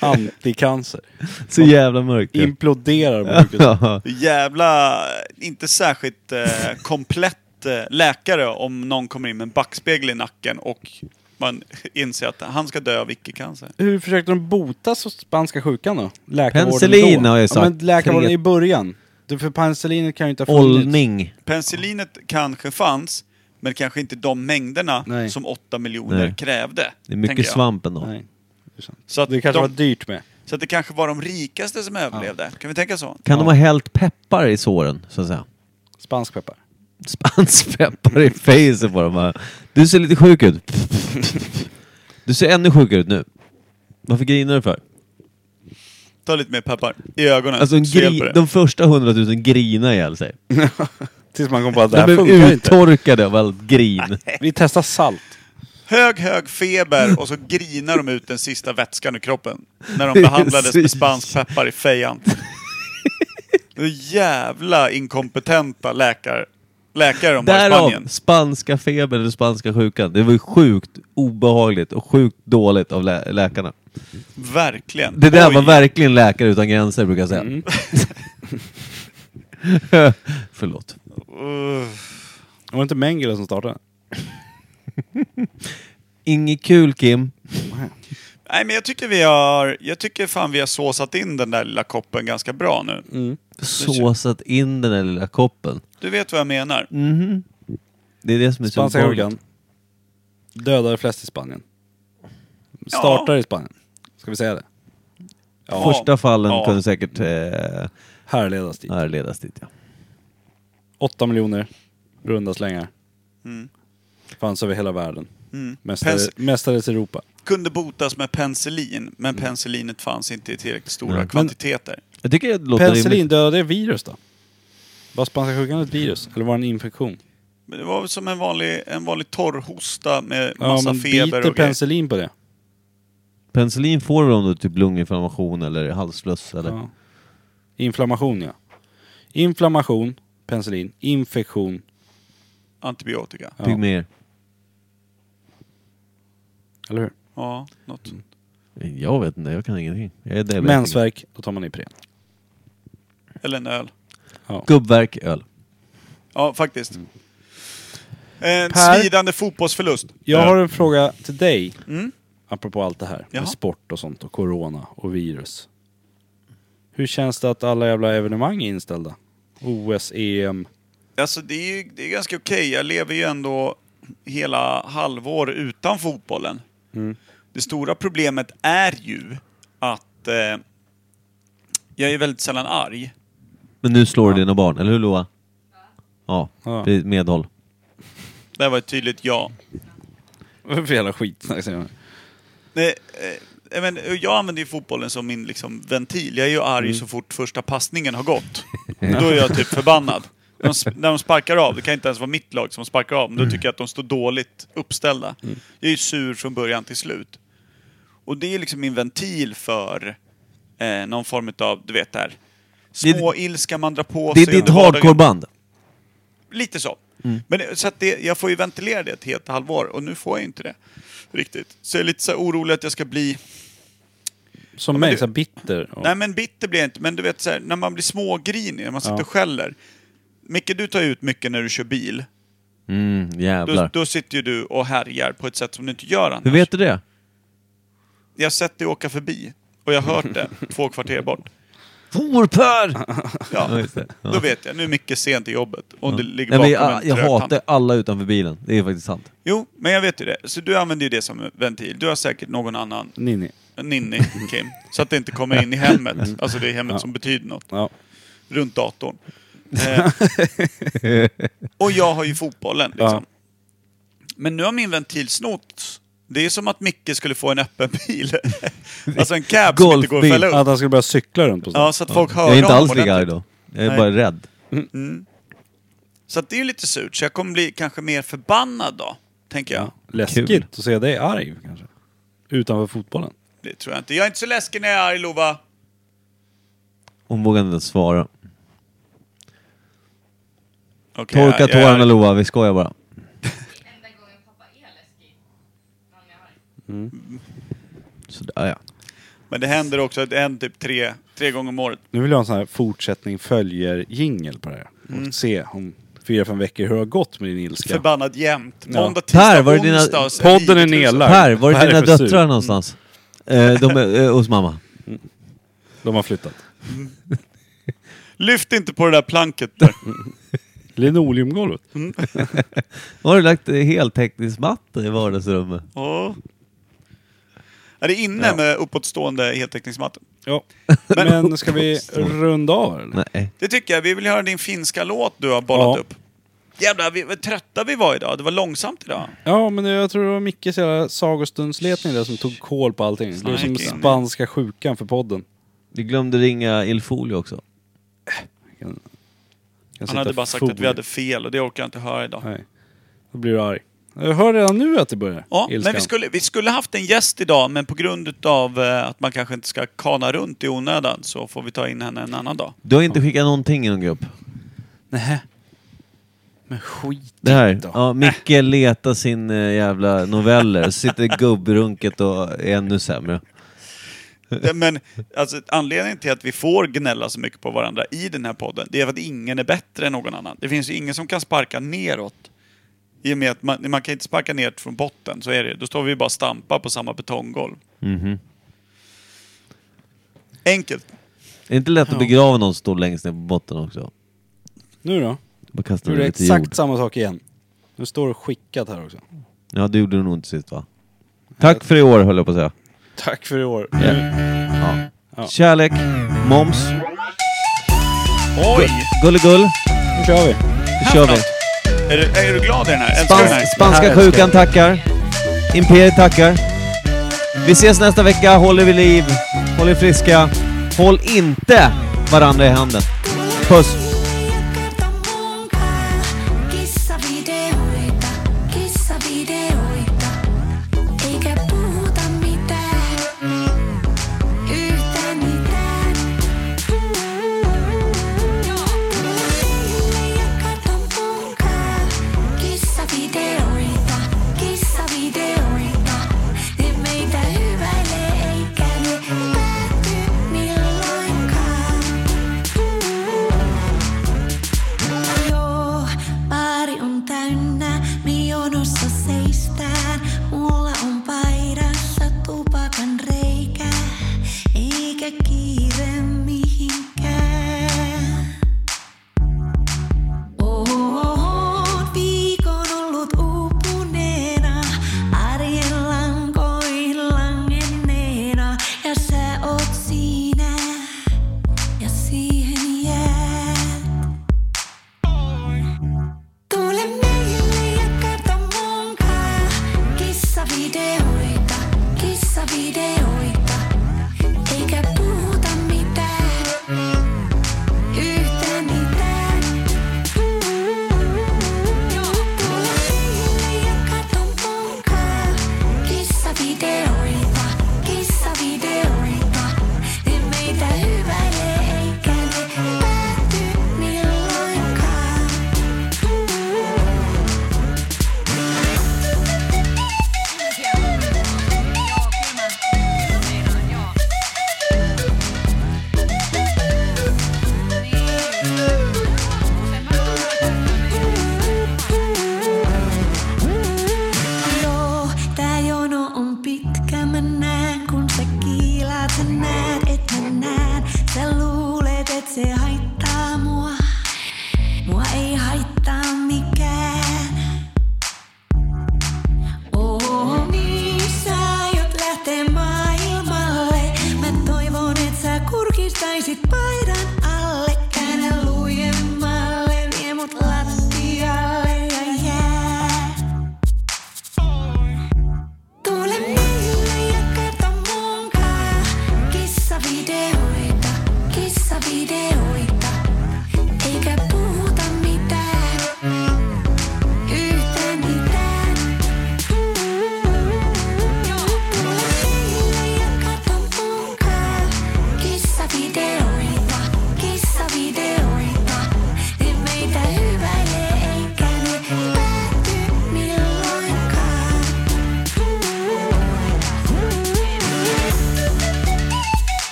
S2: Antikancer.
S1: Så jävla mörkt. ju.
S2: Imploderar på sjukhuset.
S1: Ja.
S3: Jävla, inte särskilt eh, komplett eh, läkare om någon kommer in med en backspegel i nacken och man inser att han ska dö av icke-cancer.
S2: Hur försökte de bota så spanska sjukan då? Läkarvården
S1: Penicillin
S2: då?
S1: har jag
S2: Ja,
S1: sagt.
S2: men läkarvården
S1: Tre-
S2: i början. Du, för penicillinet kan ju inte ha funnits.
S1: Åldning.
S3: Penicillinet kanske fanns, men kanske inte de mängderna
S2: Nej.
S3: som 8 miljoner
S1: Nej. Det
S3: krävde.
S1: är
S3: tänker
S1: mycket
S3: jag.
S1: svamp ändå.
S2: Nej.
S3: Så att,
S2: Det kanske
S3: de,
S2: var dyrt med.
S3: så att det kanske var de rikaste som överlevde. Kan vi tänka så?
S1: Kan de ha hällt peppar i såren, så att säga?
S2: Spansk peppar.
S1: Spansk peppar i fejset på dem. bara. Du ser lite sjuk ut. Du ser ännu sjukare ut nu. Varför grinar du för?
S3: Ta lite mer peppar i ögonen.
S1: Alltså en
S3: så hjälper
S1: gri-
S3: det.
S1: de första hundratusen grinar ihjäl sig.
S2: Tills man kom på att det
S1: De
S2: här
S1: blev
S2: funkar inte.
S1: uttorkade av allt grin.
S2: Vi testar salt.
S3: Hög, hög feber och så grinar de ut den sista vätskan ur kroppen. När de behandlades med
S1: Precis.
S3: spansk peppar i fejan. Det är jävla inkompetenta läkare, läkare de har i
S1: Därav
S3: Spanien.
S1: spanska febern eller spanska sjukan. Det var ju sjukt obehagligt och sjukt dåligt av lä- läkarna.
S3: Verkligen.
S1: Det där
S3: Oj.
S1: var verkligen Läkare utan gränser brukar jag säga. Förlåt.
S3: Uff.
S2: Det var inte Mengele som startade.
S1: Inget kul Kim.
S3: Nej men jag tycker vi har, jag tycker fan vi har såsat in den där lilla koppen ganska bra nu.
S1: Såsat in den där lilla koppen.
S3: Du vet vad jag menar.
S1: Mhm. Det är det som är så
S2: Spanska
S1: obehagligt.
S2: sjukan. Dödade flest i Spanien. Startar i Spanien. Ska vi säga det?
S3: Ja.
S1: Första fallen
S3: Ja.
S1: kunde säkert eh,
S2: Härledas dit.
S1: härledas dit. Ja.
S2: 8 miljoner runda slängar. Mm. Fanns över hela världen. Mästare,
S3: Mm. Pens-
S2: mästades i Europa.
S3: Kunde botas med penicillin, men
S2: Mm.
S3: penicillinet fanns inte i tillräckligt stora
S1: Nej.
S3: kvantiteter.
S1: Jag tycker det låter
S2: Penicillin,
S1: rimligt.
S2: dödade det virus då? Var spanska sjukan ett virus? Eller var det en infektion?
S3: Men det var väl som en vanlig, en vanlig torrhosta med
S2: Ja,
S3: massa
S2: men
S3: feber
S2: biter
S3: och grejer.
S2: penicillin på det?
S1: Penicillin får väl om du har typ lunginflammation eller halsfluss eller?
S2: Ja. Inflammation, ja. Inflammation, penicillin, infektion.
S3: Antibiotika.
S2: Ja.
S1: Pygmer.
S2: Eller hur?
S3: Ja, något. sånt.
S1: Jag vet inte, jag kan ingenting. Jag är diabetiker.
S2: Mensvärk, då tar man Ipren.
S3: Eller en öl.
S1: Gubbvärk, öl.
S3: Ja, faktiskt. En
S2: Mm. Per?
S3: svidande fotbollsförlust.
S2: Jag
S3: Ja.
S2: har en fråga till dig.
S3: Mm.
S2: Apropå allt det här
S3: Jaha.
S2: med sport och sånt och corona och virus. Hur känns det att alla jävla evenemang är inställda? E OS, EM.
S3: Alltså det är ju det är ganska okej. Jag lever ju ändå hela halvår utan fotbollen. Det stora problemet är ju att eh, jag är väldigt sällan arg.
S1: Men nu slår du dina barn, eller hur Loa? Ja,
S2: Ja.
S1: det är medhåll.
S3: Det här var ett tydligt ja.
S2: Vad för jävla skitsnack säger man?
S3: Nej, eh, jag men, jag använder ju fotbollen som min liksom, ventil. Jag är ju arg
S1: Mm.
S3: så fort första passningen har gått. Då är jag typ förbannad. De, sp- när de sparkar av, det kan inte ens vara mitt lag som sparkar av, men
S1: Mm.
S3: då tycker jag att de står dåligt uppställda. Jag är ju sur från början till slut. Och det är liksom min ventil för eh, någon form av, du vet där,
S1: Det är-
S3: små ilska man drar på
S1: Det är ditt
S3: sig
S1: Mm.
S3: under vardagen.
S1: hardcoreband.
S3: Lite så. Men eh, så att det, jag får ju ventilera det ett helt halvår och nu får jag inte det. Riktigt. Så jag är lite så här orolig att jag ska bli
S2: Som
S3: men
S2: mig,
S3: du-
S2: så här bitter. Och...
S3: Nej men bitter blir jag inte, men du vet så här, när man blir smågrinig, när man sitter
S2: Ja.
S3: och skäller. Micke, du tar ju ut mycket när du kör bil.
S1: Mm,
S3: Då,
S1: jävlar.
S3: då sitter ju du och härjar på ett sätt som du inte gör annars.
S1: Hur vet du det?
S3: Jag har sett dig åka förbi och jag har hört det två kvarter bort.
S1: Forpör! Ja,
S3: Ja,
S1: just det. Ja.
S3: då vet jag. Nu är Micke sent i jobbet och det ligger
S1: Nej,
S3: bakom
S1: men
S3: en
S1: jag, jag
S3: trög hand.
S1: hatar alla utanför bilen. Det är faktiskt sant.
S3: Jo, men jag vet ju det. Så du använder ju det som ventil. Du har säkert någon annan
S2: Ninni.
S3: ninni, Kim. Så att det inte kommer in i
S1: Mm.
S3: hemmet. Alltså det är hemmet
S2: Ja.
S3: som betyder något.
S2: Ja.
S3: runt datorn. Eh, och jag har ju fotbollen liksom. Men nu har min ventil snott Det är som att Micke skulle få en öppen bil. alltså en cab som inte går att
S1: Golfbil.
S3: fälla upp.
S2: Att han skulle börja cykla runt på stan.
S3: Ja, så att folk hör
S1: Jag är inte
S3: honom
S1: alls lika arg
S3: ordentligt.
S1: då. Jag är
S3: Nej.
S1: bara rädd.
S3: Så att det är ju lite surt, så jag kommer bli kanske mer förbannad då, tänker jag.
S2: Läskigt
S1: Kul.
S2: att se dig arg kanske. Utanför fotbollen.
S3: Det tror jag inte. Jag är inte så läskig när jag är arg, Lova.
S1: Hon vågar inte ens svara.
S3: Okay,
S1: Torka tårarna Lova, vi skojar bara.
S8: enda gången pappa är läskig. När han är arg.
S1: Sådär Mm. ja.
S3: Men det händer också att en typ tre, tre gånger om året.
S2: Nu vill jag ha en sån här fortsättning följer jingel på det här. Och
S3: Mm.
S2: se om fyra, fem veckor hur det har gått med din ilska.
S3: Förbannad jämt.
S2: Ja.
S3: Måndag, tisdag,
S1: Per, var det dina-
S3: onsdag. och sen
S2: Podden är
S3: 9000.
S2: nedlagd.
S1: Per, var
S2: Per
S1: är
S2: är
S1: dina
S2: för sur.
S1: döttrar någonstans? Eh, de är eh, hos mamma.
S2: De har flyttat.
S3: Lyft inte på det där planket Per.
S2: Linoleumgolvet.
S1: Har du lagt eh, heltäckningsmatta i vardagsrummet?
S3: Ja. Är det inne med uppåtstående heltäckningsmatta?
S2: Ja. Men ska vi runda av eller?
S1: Nej.
S3: Det tycker jag. Vi vill höra din finska låt du har bollat
S2: Ja.
S3: upp. Jävlar vi, vad trötta vi var idag. Det var långsamt idag.
S2: Ja, men jag tror det var Mickes jävla sagostundsletning där som tog koll på allting. Det var som
S3: Snark in.
S2: spanska sjukan för podden.
S1: Du glömde ringa Ilfolio också.
S2: Jag
S3: Han
S2: sitter
S3: hade bara sagt
S2: full.
S3: att vi hade fel och det orkar jag inte höra idag.
S2: Nej. Då blir du arg. Jag hör redan nu att det börjar.
S3: Ja,
S2: ilskan.
S3: men vi skulle, vi skulle haft en gäst idag, men på grund av att man kanske inte ska kana runt i onödan så får vi ta in henne en annan dag.
S1: Du har inte skickat någonting i någon grupp?
S2: Nähä. Men skit
S1: Det här.
S2: då.
S1: Ja, Micke letar sin eh, jävla noveller, sitter gubbrunket och är ännu sämre.
S3: Det- Men alltså, anledningen till att vi får gnälla så mycket på varandra i den här podden, det är för att ingen är bättre än någon annan. Det finns ju ingen som kan sparka neråt. I och med att man, man kan inte sparka ner från botten, så är det. Då står vi bara och stampar på samma betonggolv. Enkelt.
S1: Det är inte lätt att begrava någon som står längst ner på botten också.
S2: Nu då?
S1: Bara kasta
S2: Nu är det
S1: ner lite
S2: exakt
S1: jord.
S2: samma sak igen. Nu står det skickat här också.
S1: Ja, det gjorde du nog inte sist va? Tack för i år höll jag på att säga.
S2: Tack för i år.
S1: Kärlek, moms,
S3: Oj!
S1: gulligull.
S2: Nu kör vi.
S1: Nu kör vi.
S3: Är, du- är du glad i den här? Älskar du den här?
S1: Spans spanska
S2: älskar jag.
S1: sjukan tackar. Imperiet tackar. Vi ses nästa vecka. Håll er vid liv. Håll er friska. Håll inte varandra i handen. Puss!